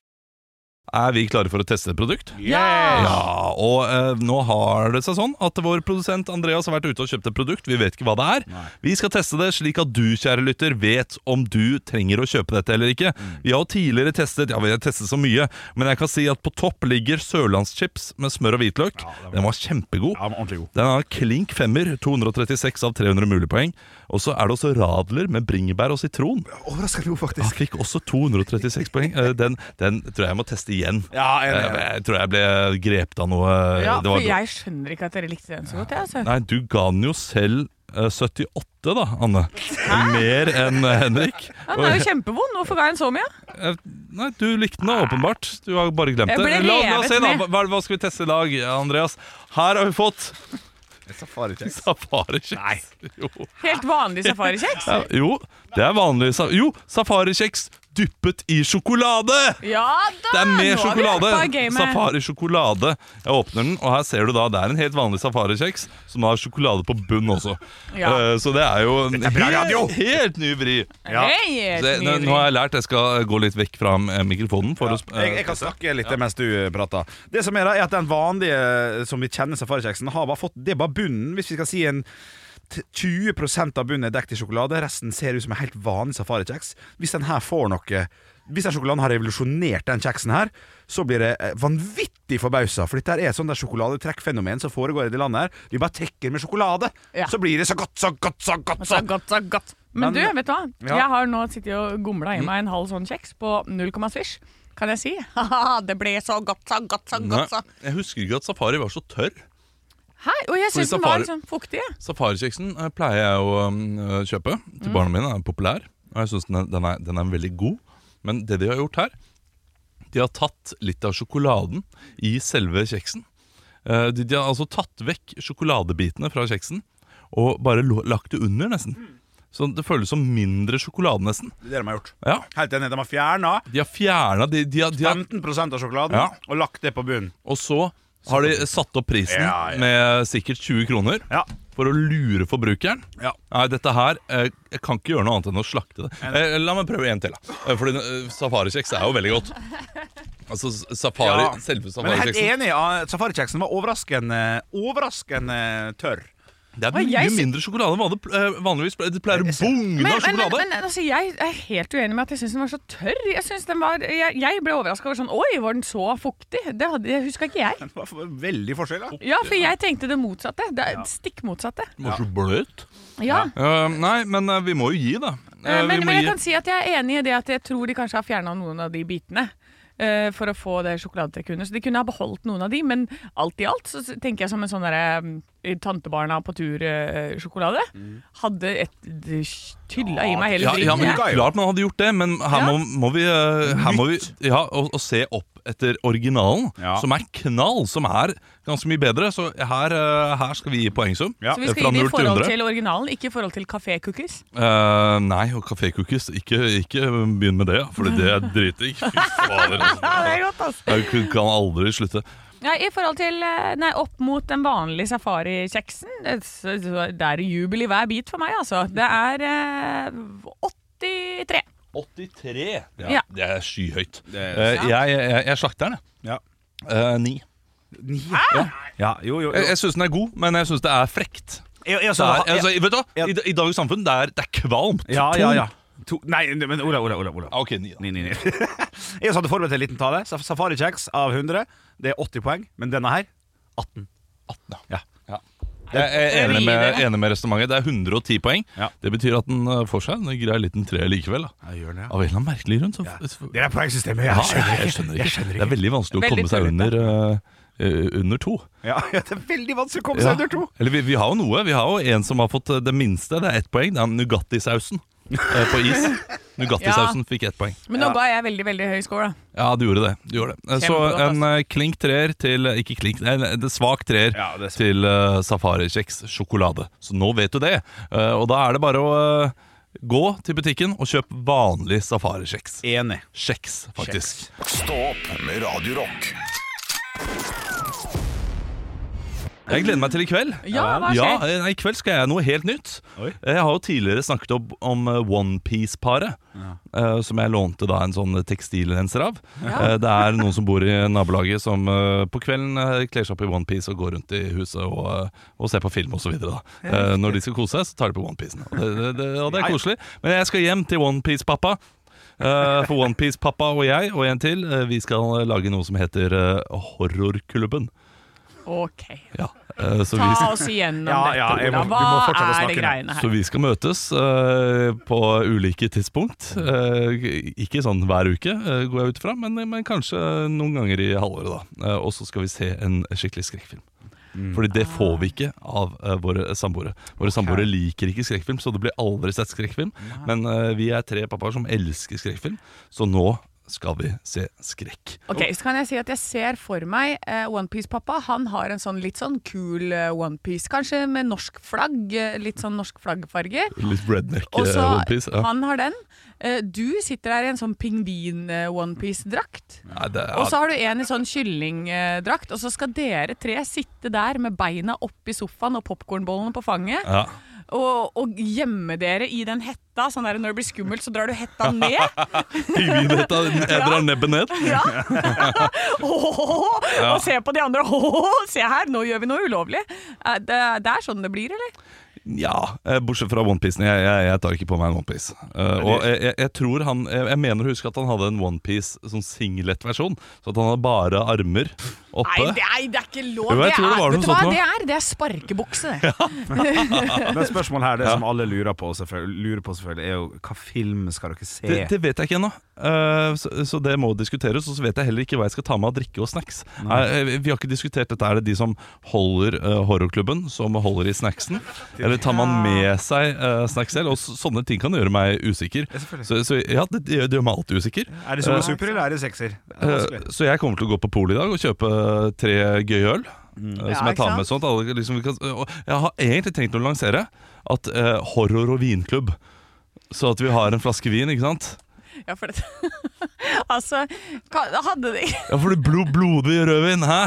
Er vi klare for å teste et produkt? Ja, og eh, nå har det seg sånn at vår produsent Andreas har vært ute og kjøpt et produkt. Vi vet ikke hva det er. Vi skal teste det slik at du, kjære lytter, vet om du trenger å kjøpe dette eller ikke. Vi har jo tidligere testet, ja, vi har testet så mye, men jeg kan si at på topp ligger sørlandschips med smør og hvitløk. Den var kjempegod.
Ja, men ordentlig god.
Den har klink femmer, 236 av 300 mulige poeng. Og så er det også radler med bringebær og sitron.
Overraskende god,
Han
faktisk.
fikk også 236 poeng. Eh, Den, den tror jeg jeg må teste igjen.
Ja, jeg er
jeg,
enig.
jeg tror jeg ble grepet av noe
Ja,
Eh, det var-
for jeg skjønner ikke at dere likte den så godt. Jeg, altså.
Nei, du ga den jo selv eh, 78 da, Anne. Mer enn eh, Henrik.
Han er jo kjempevond. Hvorfor ga jeg en så mye?
Eh, Nei, du likte den da, åpenbart. Du har bare glemt det.
Jeg ble
La, la oss
revet
se da,
med.
hva, hva skal vi teste i dag, Andreas? Her har vi fått
Safarikjeks.
safarikjeks.
Nei.
Jo.
Helt vanlig safarikjeks?
Ja, jo, det er vanlig. sa- Jo, safarikjeks dyppet i sjokolade!
Ja da!
Det er mer
nå har vi
sjokolade.
vært på gamet.
Safari-sjokolade. Jeg åpner den, og her ser du da det er en helt vanlig safarikjeks som har sjokolade på bunn også.
Ja.
Eh, så det er jo en
bra radio.
helt, helt ny vri.
Ja.
Helt
Så jeg, nå
nydelig.
nå har jeg lært jeg skal gå litt vekk fra eh, mikrofonen. For å, sp-
Jeg, jeg kan snakke litt mens du eh, prater. Det som er da, er at Den vanlige eh, som vi kjenner safarikjeksen, har bare fått det er bare bunnen. Hvis vi skal si en t- 20 av bunnen er dekt i sjokolade, resten ser ut som en helt vanlig safarikjeks. Hvis den her får noe Hvis den sjokoladen har revolusjonert den kjeksen her, så blir det eh, vanvittig forbausa. For dette her er et sånt der sjokoladetrekkfenomen som foregår i det landet her. Vi bare trekker med sjokolade,
Ja.
så blir det så godt, så godt, så godt.
Så
Så.
godt, så godt. Men,
Men-
du, vet du hva?
Ja.
Jeg har nå sittet og gomla i meg en halv sånn kjeks på 0, svisj. Kan jeg si? Haha, det ble så godt, så godt, så
Nei,
godt, så
jeg husker ikke at safari var så tørr.
Hei, og jeg
Fordi
syns den var
safari-
liksom fuktig. jeg.
Safarikjeksen eh, pleier jeg å eh, kjøpe til barna mine. Den er populær, og jeg syns den, er- den, er- den er veldig god. Men det de har gjort her De har tatt litt av sjokoladen i selve kjeksen. Eh, De, de har altså tatt vekk sjokoladebitene fra kjeksen og bare lo- lagt det under, nesten. Så det føles som mindre sjokolade, nesten.
Det er det de har gjort.
Ja,
Helt enig. De har fjerna
De har fjerna de, de, har- de har,
15 av sjokoladen
Ja.
og lagt det på bunnen.
Og så har de satt opp prisen
Ja, ja.
med sikkert 20 kroner.
Ja.
For å lure forbrukeren?
Ja.
Nei, dette her eh, Jeg kan ikke gjøre noe annet enn å slakte det. Eh, la meg prøve en til, da. Eh, Fordi eh, safarikjeks er jo veldig godt. Altså s- safari,
Ja.
selve
Men jeg er helt
safarikjeksen.
enig. ah, Safarikjeksen var overraskende, overraskende tørr.
Det er
Og
mye
jeg sy-
mindre sjokolade enn hva det pl- eh, vanligvis pleier. Det pleier å bugne
Men,
av
men, men,
sjokolade.
men altså, jeg er helt uenig med at jeg syns den var så tørr. Jeg, synes den var, jeg, jeg ble overraska over sånn Oi, var den så fuktig? Det, hadde- det huska ikke jeg.
Det var for- Veldig forskjell, da.
Ja, for jeg tenkte det motsatte. Det er Stikk motsatte.
Den var så bløt.
Ja.
Eh, nei, men eh, vi må jo gi, da. Eh,
Eh, Men,
vi må
men jeg
gi.
kan si at jeg er enig i det at jeg tror de kanskje har fjerna noen av de bitene. eh, For å få det sjokoladetrekket under. Så de kunne ha beholdt noen av de, men alt i alt så s- tenker jeg som en sånn derre mm, Tantebarna på tur-sjokolade. Hadde et det tylla i meg hele
Mm. ja,
dritten.
ja, men
jeg.
Klart man hadde gjort det, men her
Ja.
må, må vi, eh, her må vi ja, og, og se opp etter originalen,
Ja.
som er knall, som er ganske mye bedre. Så her, eh, her skal vi gi poengsum.
Ja.
Så vi
Eh,
skal
fra
gi det i
0 til
forhold
100.
til originalen, ikke i forhold til kafé-cookies.
Eh, nei, og kafécookies. Ikke, ikke begynn med det, for det er dritdigg. Fy fader, altså.
Ja, det er godt, altså.
Jeg kan aldri slutte.
Ja, I forhold til eh, Nei, opp mot den vanlige safarikjeksen. Det så- så- det er jubel i hver bit for meg, altså. Det er eh, 83.
83!
Ja.
Det er skyhøyt.
er-
Eh, jeg, jeg, jeg slakter den, jeg.
Ja.
Eh, ni.
Ja. ja, jo, jo. jo.
Jeg, jeg syns den er god, men jeg syns det er frekt.
Jeg- jeg-
Det er,
så-
altså, vet du hva?
Ja.
I, I dagens samfunn det er det er kvalmt.
Ja, ja, ja.
Tungt.
To, nei, men Ola, Ola, Ola. Ola.
Ah, Ok, ni da.
Ni, ni, ni. Jeg hadde forberedt en liten tale. Saf- Safarikjeks av 100. Det er 80 poeng, men denne her 18.
18,
Ja.
Jeg er enig med,
Videre.
enig med resonnementet. Det er 110 poeng.
Ja.
Det betyr at den eh, får seg en grei liten tre likevel. Da.
Jeg gjør det,
Av en eller annen merkelig grunn. Så,
Det er poengsystemet. Jeg
Ja,
skjønner ikke.
jeg skjønner
Jeg skjønner
Det er
ikke.
veldig vanskelig å
Veldig
komme seg under, eh, eh, under to.
Ja, ja, det er veldig vanskelig å komme seg
Ja.
under to.
Eller vi, vi har jo noe. Vi har jo en som har fått eh, det minste. Det er ett poeng. Det er Nugatti-sausen eh, på is. Nugatti-sausen fikk ett poeng.
Men nå ga jeg veldig veldig høy score, da.
Ja, du gjorde det. Du gjorde det. Eh, Så
Kjempegodt, ass.
en eh, klink treer til Ikke klink, nei, nei, det er svak treer
Ja, det er svak.
til uh, safarikjeks sjokolade. Så nå vet du det. Eh, og da er det bare å eh, gå til butikken og kjøp vanlig safarikjeks.
Enig.
Kjeks, faktisk.
Stå opp med Radio Rock.
Jeg gleder meg til i kveld.
Ja, hva
ja,
skjer?
eh, nei, I kveld skal jeg noe helt nytt. Eh,
Oi.
Jeg har jo tidligere snakket om, om eh, OnePiece-paret. eh, som jeg lånte da en sånn tekstilrenser av. Eh, det er noen som bor i nabolaget som eh, på kvelden eh, kler seg opp i OnePiece og går rundt i huset og, eh, og ser på film osv. Uh, når de skal kose seg, så tar de på OnePiecen. Og, det- det- det- og det er koselig. Men jeg skal hjem til OnePiece-pappa. Eh, for OnePiece-pappa og jeg og en til, eh, vi skal eh, lage noe som heter eh, Horrorklubben.
Ok.
Ja, eh, så vi
Ta
skal
oss igjennom
Ja, ja,
dette,
jeg
Ola.
må- du
Hva
må fortsette å
er
snakke
det
nå.
greiene
Så
her?
vi skal møtes eh, på ulike tidspunkt. Eh, ikke sånn hver uke, eh, går jeg ut fra, men, men kanskje noen ganger i halvåret. da. Eh, og så skal vi se en skikkelig skrekkfilm. Fordi det får
Ah.
vi ikke av eh, våre samboere. Våre samboere liker ikke skrekkfilm, så det blir aldri sett skrekkfilm. Men eh, vi er tre pappaer som elsker skrekkfilm, så nå skal vi se skrekk.
Ok, så kan jeg si at jeg ser for meg eh, Onepiece-pappa. Han har en sånn litt sånn kul eh, onepiece, kanskje med norsk flagg. eh, Litt sånn norsk flaggfarge.
Litt redneck
Og så
eh, One Piece. Ja.
han har den. Eh, Du sitter der i en sånn pingvin-onepiece-drakt.
Nei, det er-
Og så har du en i sånn kyllingdrakt, og så skal dere tre sitte der med beina oppi sofaen og popkornbollene på fanget,
ja.
og, og gjemme dere i den hetta. Sånn der, når det blir skummelt, så drar du hetta ned.
Pingvinhetta jeg drar nebbet ned.
Ja. og se på de andre. se her, nå gjør vi noe ulovlig. Eh, Det, det er sånn det blir, eller?
Ja, eh, bortsett fra OnePiece. Jeg, jeg, jeg tar ikke på meg en OnePiece. Uh, og jeg, jeg- jeg tror han Jeg, jeg mener å huske at han hadde en OnePiece sånn singlet-versjon. Så at han hadde bare armer
Nei,
oppe.
det er, det er ikke lov.
Jo, jeg tror
er,
det var noe
vet du
sånt
hva
nå.
det er? Det er sparkebukse. det.
Men spørsmålet her, det som alle lurer på, selvfølgelig, lurer på selvfølgelig er jo hva film skal dere se?
Det, det vet jeg ikke ennå, Eh, så, så det må diskuteres. Og så vet jeg heller ikke hva jeg skal ta med av drikke og snacks. Eh, vi har ikke diskutert dette. Er det de som holder eh, horrorklubben, som holder i snacksen? Eller tar man med seg eh, snacks selv? Og så, sånne ting kan gjøre meg usikker.
selvfølgelig.
så, så ja, det, det gjør- det gjør meg alltid usikker.
Er det som en super, eller er det sekser? Det er vanskelig.
Eh, Så jeg kommer til å gå på polet i dag og kjøpe tre gøye øl. eh, Som
Ja,
jeg tar
ikke
med sånt alle, liksom, vi kan, og Jeg har egentlig tenkt å lansere at eh, horror- og vinklubb. Så at vi har en flaske vin, ikke sant?
Ja, for det. altså, hva- hadde det
Ja, for det blod, blodig rødvin, hæ?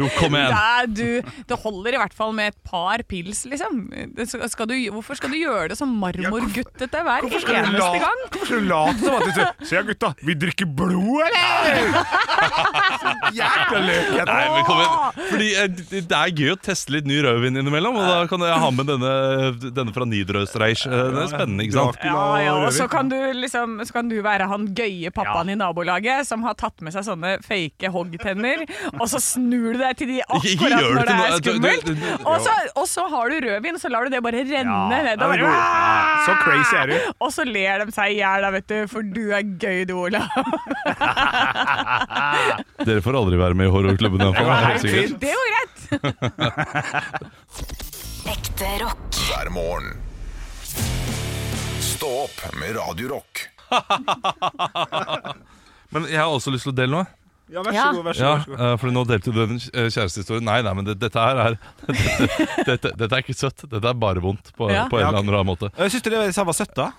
Jo, kom igjen.
Nei, du, det holder i hvert fall med et par pils, liksom. Det skal skal du, hvorfor skal du gjøre det så marmorguttete hver
Hvorfor skal du
eneste
late-
gang?
Hvorfor skal du late som at du sier Se gutta, vi drikker blod, eller? Så jækla løkete.
Nei, men kom igjen. Fordi eh, det det er gøy å teste litt ny rødvin innimellom, og da kan jeg ha med denne, denne fra Nidarosreich. Eh, Den er spennende, ikke sant?
Dracula
Ja, ja, og
rødvin.
så kan, du liksom, så kan du være han gøye pappaen i nabolaget som har tatt med seg sånne fake hoggtenner, og så snur du deg til de
Ikke- ikke gjør
akkurat når
det
det er
til noe. Du-
skummelt,
du- du-
og så, og så har du rødvin, så lar du det bare renne
Ja, ja,
nedover.
det går- ja, så crazy er du.
Og så ler de seg i hjel, da, vet du, for du er gøy, du, Ola.
Dere får aldri være med i horrorklubben. i hvert fall, helt sikkert.
Det går greit.
Ekte rock.
hver morgen. Stå opp med Radio Rock.
Men jeg har også lyst til å dele noe.
Ja, vær
Ja.
så god, vær så
Ja,
god, vær så god.
eh, for nå delte du en eh, kjærestehistorie. Nei, nei, men det, dette her er dette, dette, dette er ikke søtt. Dette er bare vondt på,
Ja.
på en
Ja,
eller
ok.
annen måte.
Jeg Syns du det sa var søtt, da?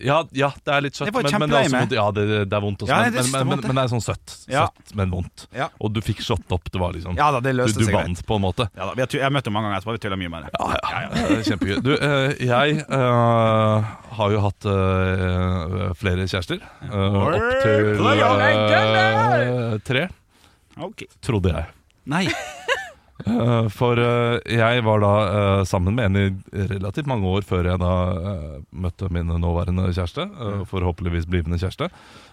Ja, ja det er litt søtt,
Det var
men, men det er også
kjempeeime.
vondt. Ja, det, det er vondt også,
Ja,
men,
det er
men, men,
vondt, det.
men, det er sånn søtt.
Ja.
Søtt, men vondt.
Ja.
Og du fikk slått opp. Det var liksom
Ja da, det
Du,
løste
du
seg greit.
vant, på en måte.
Ja, da, vi har tu- jeg har møtt henne mange ganger etterpå. Vi tuller mye med det.
Ja, ja, ja, det er Kjempegøy. Du, eh, jeg eh, har jo hatt eh, flere kjærester. eh, opp til eh, tre,
Ok.
trodde jeg.
Nei.
Eh, For eh, jeg var da eh, sammen med en i relativt mange år før jeg da eh, møtte min nåværende kjæreste. eh,
Mm.
forhåpentligvis blivende kjæreste.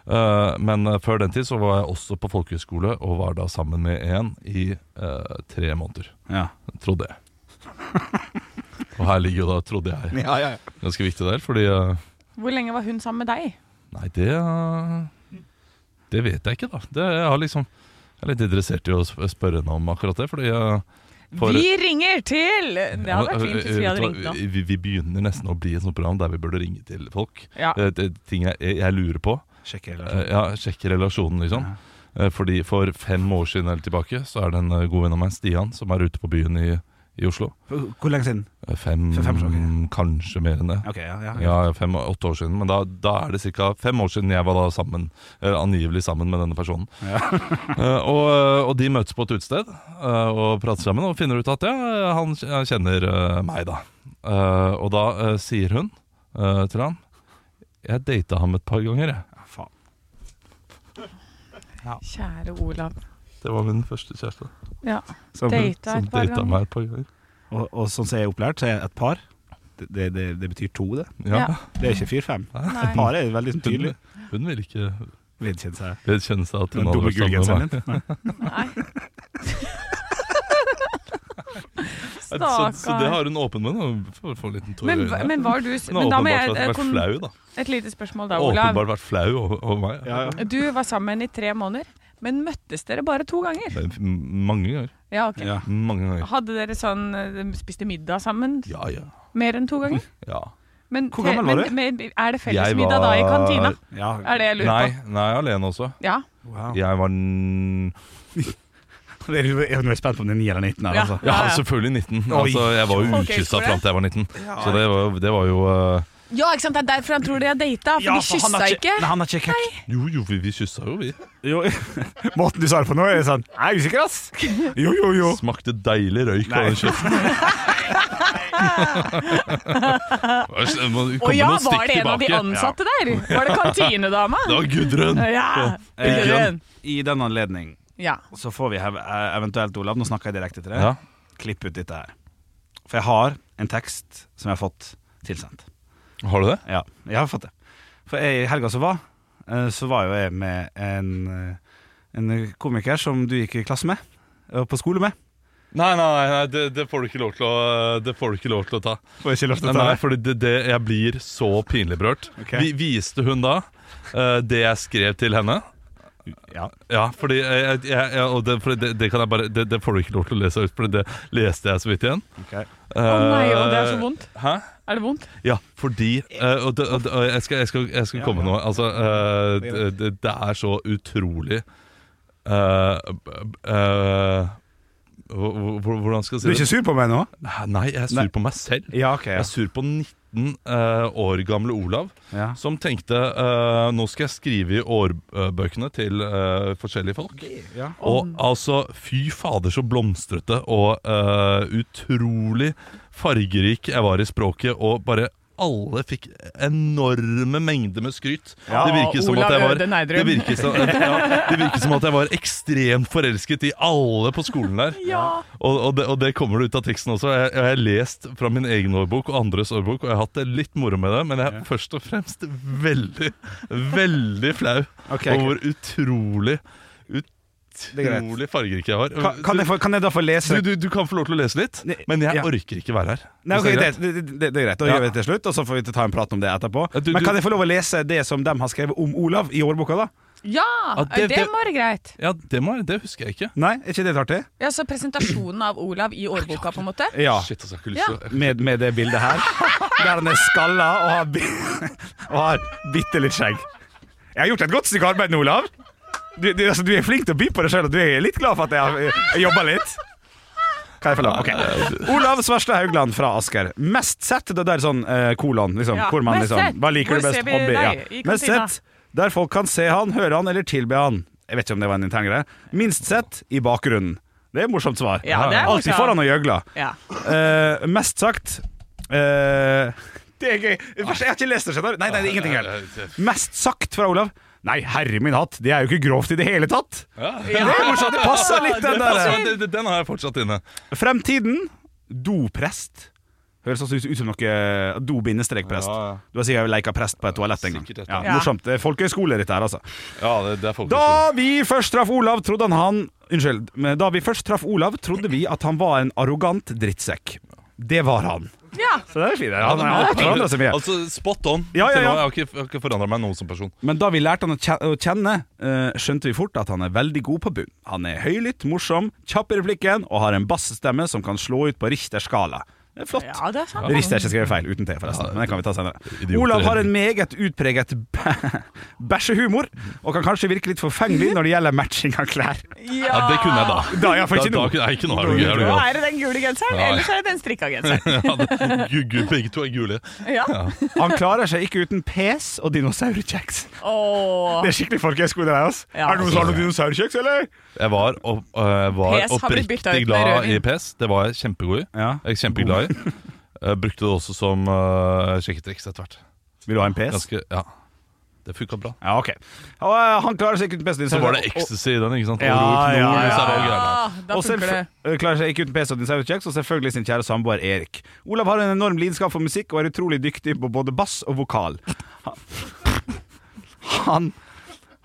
Eh, men eh, før den tid så var jeg også på folkehøyskole og var da sammen med en i eh, tre måneder.
Ja.
Trodde jeg. Og her ligger jo da 'trodde jeg'.
Ja, ja, ja.
Ganske viktig der, fordi eh,
Hvor lenge var hun sammen med deg?
Nei, det eh, Det vet jeg ikke, da. Det, jeg, har liksom, jeg er litt interessert i å sp- spørre henne om akkurat det, fordi eh, For-
Vi ringer til! Det hadde vært fint hvis vi hadde
Vet du
ringt
hva?
nå.
Vi, vi begynner nesten å bli et sånt program der vi burde ringe til folk.
Ja.
Eh, Det, er ting jeg, jeg lurer på.
Sjekk
Eh,
relasjonen.
Ja, Sjekke relasjonen, liksom. Eh, Fordi For fem år siden eller tilbake Så er det en eh, god venn av meg, Stian, som er ute på byen i, i Oslo.
Hvor lenge siden?
Eh, Fem,
For fem år siden.
kanskje mer enn det.
Ok, ja, ja, ja.
Ja, fem-åtte år siden. Men da, da er det ca. fem år siden jeg var da sammen, eh, angivelig sammen med denne personen. Eh, og, eh, og de møtes på et utested eh, og prater sammen og finner ut at ja, han k- kjenner eh, meg, da. Eh, og da eh, sier hun eh, til han Jeg data ham et par ganger, jeg.
Faen.
Kjære Olav.
Det var min første kjæreste.
Ja.
Som,
Data
Som
et par
data
ganger.
meg et par ganger.
og, og sånn som jeg er opplært, så er et par det, det, det, det betyr to, det.
Ja.
Ja.
Det er ikke fire-fem.
Nei.
Et par er veldig sånn
Hun,
tydelig.
hun ville ikke
Vedkjenne seg
vedkjenne seg at
den
hun hadde
dumme
vært sammen
gullgenseren
med meg.
din.
Nei.
Så, så det
Stakkar.
har hun åpen med. Hun får, får en liten tår i
Men,
øynene.
men var du s-
Hun har
men da må jeg, eh,
åpenbart vært, vært
kon-
flau, da.
Et lite spørsmål da, Olav.
Åpenbart vært flau over, over meg.
Ja, ja.
Du var sammen i tre måneder, men møttes dere bare to ganger?
Men f- Mange ganger.
Ja, ok.
Ja.
Mange ganger.
Hadde dere sånn eh, spiste middag sammen
Ja, ja.
mer enn to ganger?
ja.
Men,
Hvor gammel var
men,
du?
Men, er det
Jeg
fellesmiddag da i
var-
kantina?
Ja.
Er det jeg lurer
Nei,
på?
nei, alene også.
Ja.
Wow.
Jeg var n-
Jeg er jo- jeg er jo spent på om det er 9 eller 19 her,
Ja.
altså.
Ja, selvfølgelig 19.
Oi.
Altså, jeg var jo
Folkehøyskole.
ukyssa fram til jeg var 19. Så det var, jo- det var jo eh,
ja, ikke sant? Det er derfor han tror de har data, for
Ja,
de kyssa
har
ikke.
Nei, han har ikke kekk.
Jo, jo, vi, vi kyssa jo, vi.
Jo, måten du sa det på nå, er sånn Jeg er usikker, ass. Jo, jo, jo.
Smakte deilig røyk
Nei.
av den kjeften. Det må
Å
komme
ja,
noen
var
stikk
det en av de
tilbake.
ansatte der? Var det kantinedama?
Det var Gudrun!
Ja.
Eh,
Gudrun.
I den anledning
Ja.
så får vi hev- eh, eventuelt, Olav, nå snakker jeg direkte til deg,
Ja.
klipp ut dette her. For jeg har en tekst som jeg har fått tilsendt.
Har du det?
Ja, jeg har fått det. For jeg, i helga som var, eh, så var jo jeg med en, eh, en komiker som du gikk i klasse med, og på skole med.
Nei, nei, nei, nei det, det får du ikke lov til å, det får du ikke lov til å ta.
Får jeg ikke lov til
Nei,
å ta
nei,
det?
fordi det, det, jeg blir så pinlig berørt.
Ok.
Vi, viste hun da eh, det jeg skrev til henne?
Ja.
Ja, fordi jeg, jeg, jeg, og det, fordi det, det kan jeg bare det, det får du ikke lov til å lese ut, for det leste jeg så vidt igjen. Eh,
ok.
Å nei, og det er så vondt.
Hæ?
Er det vondt?
Ja, fordi eh, og, det, og, det- og jeg skal, jeg skal, jeg skal komme nå. Altså, eh, det, det, det er så utrolig eh, b- eh, hvor- hvor- Hvordan skal
Du er
jeg si
ikke
det?
sur på meg nå?
Nei, jeg er
Nei.
sur på meg selv.
Ja, ok.
Jeg er sur på 19 eh, år gamle Olav,
Ja.
som tenkte eh, nå skal jeg skrive i årbøkene til eh, forskjellige folk.
ja.
Og altså, fy fader så blomstrete og eh, utrolig fargerik jeg var i språket, og bare alle fikk enorme mengder med skryt.
Ja,
det virker som
Olav
at jeg var
Øde Neidrum.
det virker, som, ja, det virker som at jeg var ekstremt forelsket i alle på skolen der.
Ja.
Og, og, det, og det kommer ut av teksten også. Jeg, jeg har lest fra min egen årbok og andres årbok, og jeg har hatt det litt moro med det, men jeg er først og fremst veldig, veldig flau
Ok, ok.
over hvor utrolig
Det er greit.
Utrolig fargerik jeg var.
Kan, kan, jeg få, kan jeg da få lese
du, du, du kan få lov til å lese litt,
Nei,
men jeg
ja.
orker ikke være her.
Nei,
Hvis
ok,
er
det,
greit?
det, det, det er greit. Da
Ja.
gjør vi det til slutt, og så får vi ta en prat om det etterpå.
Ja, du-
Men
du-
kan jeg få lov å lese det som de har skrevet om Olav i årboka, da?
Ja,
det-
det
det-
må være greit.
Ja, det, må, jeg- det husker jeg ikke.
Nei, er ikke det litt artig?
Ja, så presentasjonen av Olav i årboka, på en måte?
Ja.
Shit, altså, jeg har ikke lyst til å
Med, med det bildet her, der han er skalla og har, bi- og har bitte litt skjegg. Jeg har gjort et godt stykke arbeid nå, Olav. Du, du, altså, du er flink til å by på deg sjøl, og du er litt glad for at jeg, har- jeg jobba litt. Kan jeg få lov? Ok. Olav Svarstad Haugland fra Asker. Mest sett, det der sånn eh, kolon, liksom.
Ja,
Hvor man
mest sett.
liksom Hva liker du
Hvor
best?
ser vi
Hobby.
deg
Ja.
i
Mest
kantina?
sett der folk kan se han, høre han eller tilbe han. Jeg vet ikke om det var en intern greie. Minst sett i bakgrunnen. Det er et morsomt svar.
Ja, det er
Alltid
morsomt.
foran og gjøgla.
Ja.
Eh, mest sagt eh, Ah, Det er gøy. Jeg har ikke lest det. skjønner du? Nei, nei, det er ingenting her. Mest sagt fra Olav. Nei, herre min hatt, det er jo ikke grovt i det hele tatt! Det er morsomt, det passer litt, den
Altså,
der.
den- den- den har jeg fortsatt inne.
Fremtiden doprest. Høres også ut ut som noe do-bindestrekprest.
Ja, ja.
Du har sikkert leika prest på et toalett en gang.
Sikkert et
Ja,
eller
annet.
morsomt. Det er folkehøyskole, dette her, altså.
Ja, det, det er folk-
Da vi først traff Olav, trodde han han Unnskyld. men Da vi først traff Olav, trodde vi at han var en arrogant drittsekk. Det var han.
Ja.
Så det er fint. Han, han, har ikke forandret seg mye.
Altså, Spot on.
Ja, ja,
Til nå,
ja.
Jeg har ikke, jeg har ikke forandra meg noe som person.
Men da vi lærte han å kje- å kjenne, eh, skjønte vi fort at han er veldig god på bunn. Han er høylytt, morsom, kjapp i replikken og har en bassestemme som kan slå ut på Richter-skala. Det er flott.
ja, det er sant.
Richter er ikke skrevet feil uten T, forresten. Men det kan vi ta senere.
Idioter.
Olav har en meget utpreget bæ- bæsjehumor, og kan kanskje virke litt forfengelig når det gjelder matching av klær.
Ja, det kunne jeg da.
Da, ja, for
Da,
Ah! ikke
da
noe.
kunne jeg ikke noe. Er du gøy, er du
Nå
gal?
er det den gule genseren,
Ja.
ellers er det den strikka genseren.
Ja, det- gu- gu- Begge to er gule.
Ja.
Han klarer seg ikke uten pes og dinosaurkjeks.
Åh.
Det er skikkelig folkehøyskole, det der. ass.
Ja.
Er det noen som har noen dinosaurkjeks, eller?
Jeg var, opp, øh, var
PS har blitt byttet ut
oppriktig
med
glad i
rødvin.
PS. Det var jeg kjempegod i.
Ja.
Jeg er kjempeglad i. Jeg brukte det også som øh, sjekketriks etter hvert.
Vil du ha en pes?
Ganske, ja Det funka bra.
Ja, ok. Og, eh, han klarer seg ikke uten pes.
Så var det ecstasy i den, ikke sant? Og
Ja,
ror, knor,
ja, ja.
disse her greiene.
Ja, da
og
funker det.
selvfø- øh, klarer seg ikke uten PC og dinosaurkjeks, og selvfølgelig sin kjære samboer Erik. Olav har en enorm lidenskap for musikk og er utrolig dyktig på både bass og vokal. Han,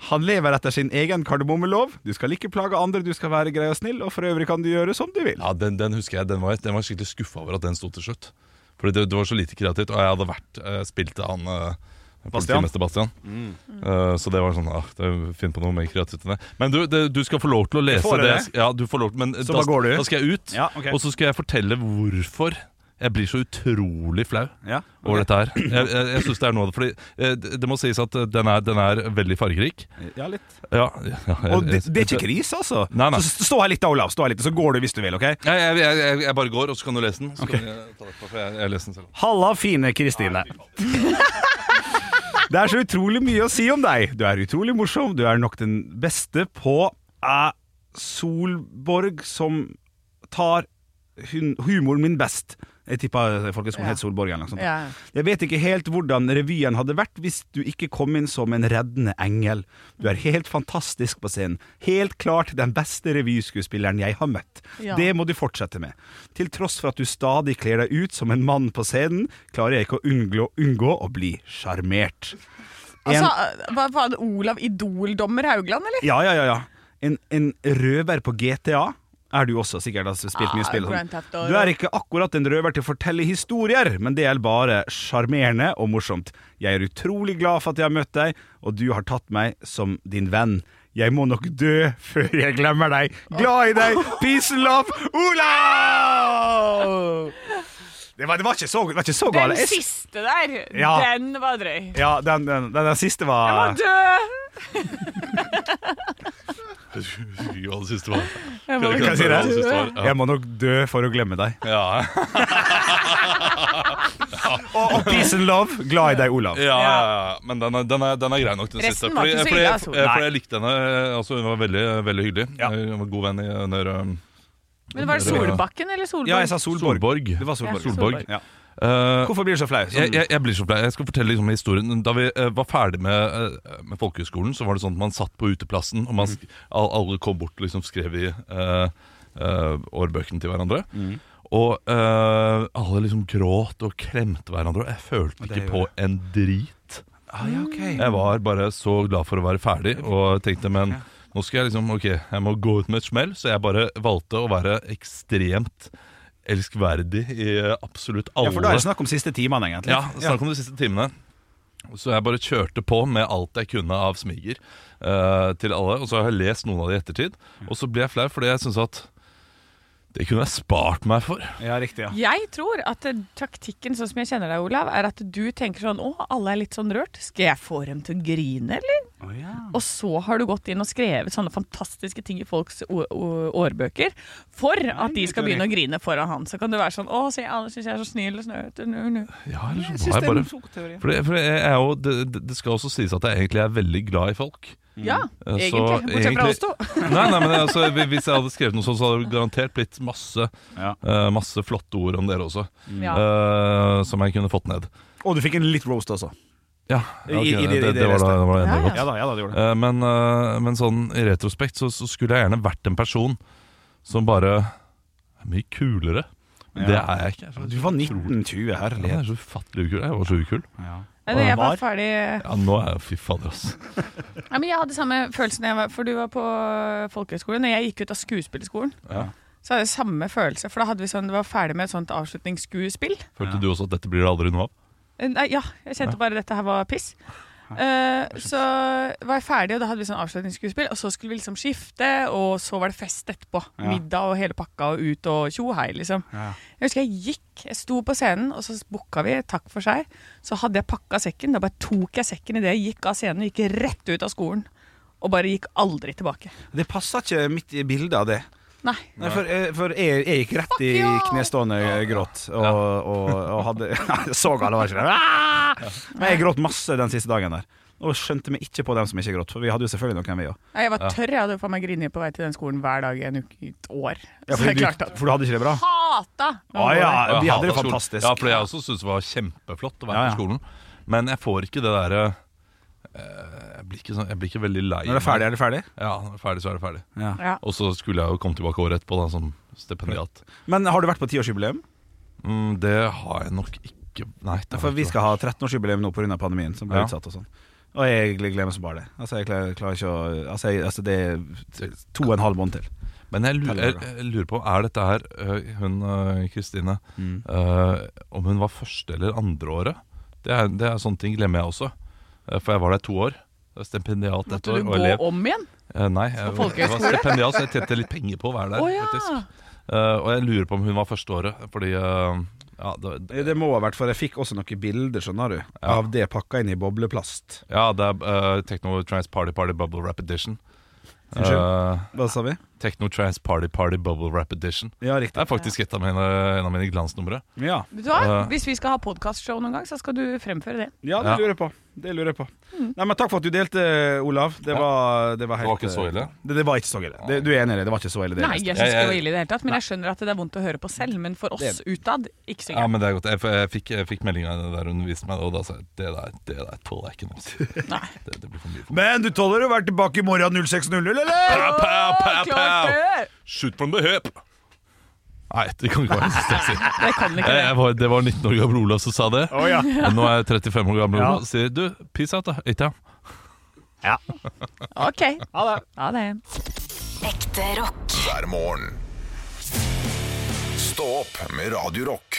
han lever etter sin egen kardemommelov. Du skal ikke plage andre, du skal være grei og snill, og for øvrig kan du gjøre som du vil.
Ja, den, den husker jeg. Den var, den var skikkelig skuffa over at den sto til slutt. Fordi det, det var så lite kreativt. Og jeg hadde vært eh, spilt til han eh,
Bastian. Mm.
politimester Bastian. Eh, så det var sånn ah, det- Finn på noe mer kreativt enn det. Men du, det, du skal få lov til å lese
får
det.
det.
jeg sk- Ja, du får lov til, men eh,
Så
da,
bare går du?
da skal jeg ut,
Ja, ok.
og så skal jeg fortelle hvorfor. Jeg blir så utrolig flau
Ja, ok.
over dette her. Jeg, jeg, jeg synes det er noe av det Fordi eh, det, det må sies at eh, den er, den er veldig fargerik.
Ja, litt.
Ja, ja, jeg-
Og det, det er
jeg-
ikke krise, altså.
Nei, nei.
Så stå her litt da, Olav, stå her litt, så går du hvis du vil, ok?
Nei, jeg, jeg, jeg, jeg bare går, og så kan du lese den. Så kan jeg, ta det på, for jeg, jeg leser den selv.
Halla, fine Kristine. Det er så utrolig mye å si om deg. Du er utrolig morsom. Du er nok den beste på eh, Solborg som tar hun, humoren min best. Jeg eh, tippa folkeskolen
Ja.
het Solborg eller noe sånt.
Ja.
Jeg vet ikke helt hvordan revyen hadde vært hvis du ikke kom inn som en reddende engel. Du er helt fantastisk på scenen. Helt klart den beste revyskuespilleren jeg har møtt.
Ja.
Det må du fortsette med. Til tross for at du stadig kler deg ut som en mann på scenen, klarer jeg ikke å unngå, unngå å bli sjarmert. En-
Altså, hva var det Olav Idol-dommer Haugland, eller?
Ja, ja, ja, ja. En, en røver på GTA er du også, sikkert. Altså, spilt mye
Ah,
spill. og
Grand Theft
sånn.
Auto.
Du er ikke akkurat en røver til å fortelle historier, men det er bare sjarmerende og morsomt. Jeg er utrolig glad for at jeg har møtt deg, og du har tatt meg som din venn. Jeg må nok dø før jeg glemmer deg. Glad i deg! Peace and love, Olav! Det var, det var ikke så, det var ikke så
Den
gale. Jeg-
siste der,
Ja.
den var drøy.
Ja, den, den, den, der siste
Jeg må
var
dø!
Husker ikke hva det siste var.
Jeg må
Kan
Kan
dø.
jeg si det?
Hva det siste var, ja.
Jeg må nok dø for å glemme deg.
Ja,
Og, og peace and love. Glad i deg, Olav.
ja, ja, ja. Men den er, den, er, den er grei nok, den
Resten
siste.
var ikke så
fordi,
ille,
jeg,
altså.
fordi jeg likte henne. Altså, hun var veldig, veldig hyggelig. Eh,
Ja.
Hun var god venn i under um,
Men var det Solbakken eller Solborg?
Ja, jeg sa Solborg.
Solborg.
Det var Solborg.
Ja, Solborg.
Ja.
eh,
Hvorfor blir du så flau? Sånn-
jeg, jeg, jeg blir så flau. Jeg skal fortelle liksom historien. Da vi eh, var ferdig med, eh, med folkehøyskolen, så var det sånn at man satt på uteplassen, og man,
Mm.
sk- al- alle kom bort og liksom skrev i eh, eh, årbøkene til hverandre.
Mm.
Og eh, alle liksom gråt og klemte hverandre, og jeg følte
det
ikke på en drit.
ah, ja, ok.
Jeg var bare så glad for å være ferdig, og tenkte men nå skal jeg liksom, ok, jeg må gå ut med et smell, så jeg bare valgte å være ekstremt elskverdig i eh, absolutt alle
ja, for da er det snakk om siste timene, egentlig.
ja, snakk om de siste timene. Så jeg bare kjørte på med alt jeg kunne av smiger eh, til alle. Og så har jeg lest noen av de i ettertid. Og så ble jeg flau fordi jeg syns at Det kunne jeg spart meg for.
Ja, riktig, ja.
Jeg tror at eh, taktikken sånn som jeg kjenner deg, Olav, er at du tenker sånn Å, alle er litt sånn rørt. Skal jeg få dem til å grine, eller? Og så har du gått inn og skrevet sånne fantastiske ting i folks å- å- årbøker for at de skal begynne å grine foran han. Så kan du være sånn Å, se, alle syns jeg er så snill og snøt. Nu, nu.
Ja, eller
Jeg
så
syns det
var jeg
er
bare
en klok teori.
For, det, for jeg er jo, det, det- det skal også sies at jeg egentlig er veldig glad i folk.
Ja,
Eh, så
egentlig. Bortsett fra
egentlig-
oss to.
Nei, nei, men altså, Hvis jeg hadde skrevet noe sånt, så hadde det garantert blitt masse,
Ja.
eh, masse flotte ord om dere også.
Ja.
eh, som jeg kunne fått ned.
Og du fikk en litt roast også.
Ja,
I-
ok,
i- i- i
det, det,
det
var da,
resten.
det var da
Ja,
enda
ja.
godt.
Ja da, ja da, det gjorde det.
Eh, men, eh, men sånn i retrospekt så, så skulle jeg gjerne vært en person som bare er mye kulere. Men det
Ja.
er jeg ikke. Jeg er så-
Du var 1920,
Ja, jeg
herlighet.
er så ufattelig ukul. Jeg var så ukul.
Ja.
Nei, Jeg
Var?
var ferdig
Ja, nå er jeg fy fader, ass.
Ja, men Jeg hadde samme følelsen jeg var, for du var på øh, folkehøyskolen. Når jeg gikk ut av skuespillerskolen,
Ja.
så hadde jeg samme følelse. For da hadde vi sånn, det var ferdig med et sånt avslutningsskuespill.
Følte du også at dette blir det aldri noe av?
Eh, Nei, ja, jeg kjente bare dette her var piss. Eh, så var jeg ferdig, og da hadde vi sånn avslutningsskuespill. Og så skulle vi liksom skifte, og så var det fest etterpå.
Ja.
Middag og hele pakka og ut og tjo og hei, liksom.
Ja.
Jeg husker jeg gikk, jeg sto på scenen, og så booka vi, takk for seg. Så hadde jeg pakka sekken. Da bare tok jeg sekken idet jeg gikk av scenen og gikk rett ut av skolen. Og bare gikk aldri tilbake.
Det passa ikke mitt i bildet av det.
Nei.
Nei, for eh, for jeg, jeg gikk rett i knestående gråt, og, og, og hadde Jeg så alle, var ikke det? Ah! Men jeg gråt masse den siste dagen der. Og skjønte meg ikke på dem som ikke gråt, for vi hadde jo selvfølgelig noen, vi òg.
Nei, Jeg var tørr, jeg hadde faen meg grinet på vei til den skolen hver dag i en uke, i et år.
Ja,
så
for,
det er klart
du-
at
for du hadde ikke det bra?
Hata!
Å ja,
Og jeg
vi hadde
hatet
det
skolen.
fantastisk.
Ja, for jeg også syntes det var kjempeflott å være
Ja, ja.
på skolen. Men jeg får ikke det derre eh, jeg, blir ikke sånn, jeg blir ikke veldig lei
Når det er ferdig, er det ferdig?
meg. Ja, når det er ferdig, så er det ferdig.
Ja.
Ja.
Og så skulle jeg jo komme tilbake året etterpå da, som stipendiat.
Men har du vært på tiårsjubileum?
Mm, det har jeg nok ikke Nei. det har
For
jeg
vi
ikke.
skal ha 13-årsjubileum nå pga. pandemien, som ble
Ja.
utsatt og sånn. Og jeg gleder meg som bare det. Altså, jeg klarer, klarer ikke å altså, jeg, altså, det er to og en halv måned til.
Men jeg lurer,
Teller
jeg,
det.
jeg lurer på, er dette her øh, hun øh, Kristine øh, Om hun var første eller andre året? Det er, det er sånne ting glemmer jeg også. Eh, For jeg var der to år. Jeg var Stipendiat ett
Måtte
år
du
og
gå
elev.
om igjen?
Eh, Nei, jeg,
På
jeg var
folkehøyskole?
stipendiat, så jeg tjente litt penger på å være der.
Å ja.
faktisk. Eh, og jeg lurer på om hun var første året, fordi eh, ja, det,
Det må ha vært, for jeg fikk også noen bilder, skjønner du, av det pakka inn i bobleplast.
ja, det er eh, Techno Trans Party Party Bubble Rap Edition.
Unnskyld?
Eh,
Hva sa vi?
Techno Trans Party Party Bubble Rap Edition.
Ja,
Det
riktig.
er faktisk et av mine, en av mine glansnumre.
Ja,
Vet du hva?
Ja.
Hvis vi skal ha podkastshow noen gang, så skal du fremføre det.
ja det
Ja.
lurer jeg på. Det lurer jeg på. Nei, men Takk for at du delte, Olav. Det
Ja.
var, det var
Det
helt
var ikke så ille.
Det, det var ikke så ille. Det, du er enig i det? Det var ikke så ille. Det jeg
Nei,
leste.
jeg
Jeg-
syns ikke det var
jeg-
ille i det hele tatt, men jeg skjønner at det er vondt å høre på selv. Men for oss utad, ikke så
Ja,
gærent.
men det er godt. Jeg, f- jeg fikk, jeg fikk meldinga der hun viste meg det, og da sa jeg det der, det der tåler jeg ikke nå. ass.
Nei.
Det, det blir for mye for meg.
Men du tåler å være tilbake i morgen 06.00, eller?
Pow, pow, pow,
Å, klart
pow.
det!
Shoot from the hip! Nei, det kan ikke være eksistensielt.
Det kan ikke
Jeg,
det.
jeg var, det var 19 år gammel Olav som sa det.
Å ja.
Men nå er jeg 35 år gammel
Ja.
Olav og sier du, peace out, da. Ikke ja.
OK. Ha det. Ha det.
Ekte rock.
hver morgen. Stå opp med Radio Rock.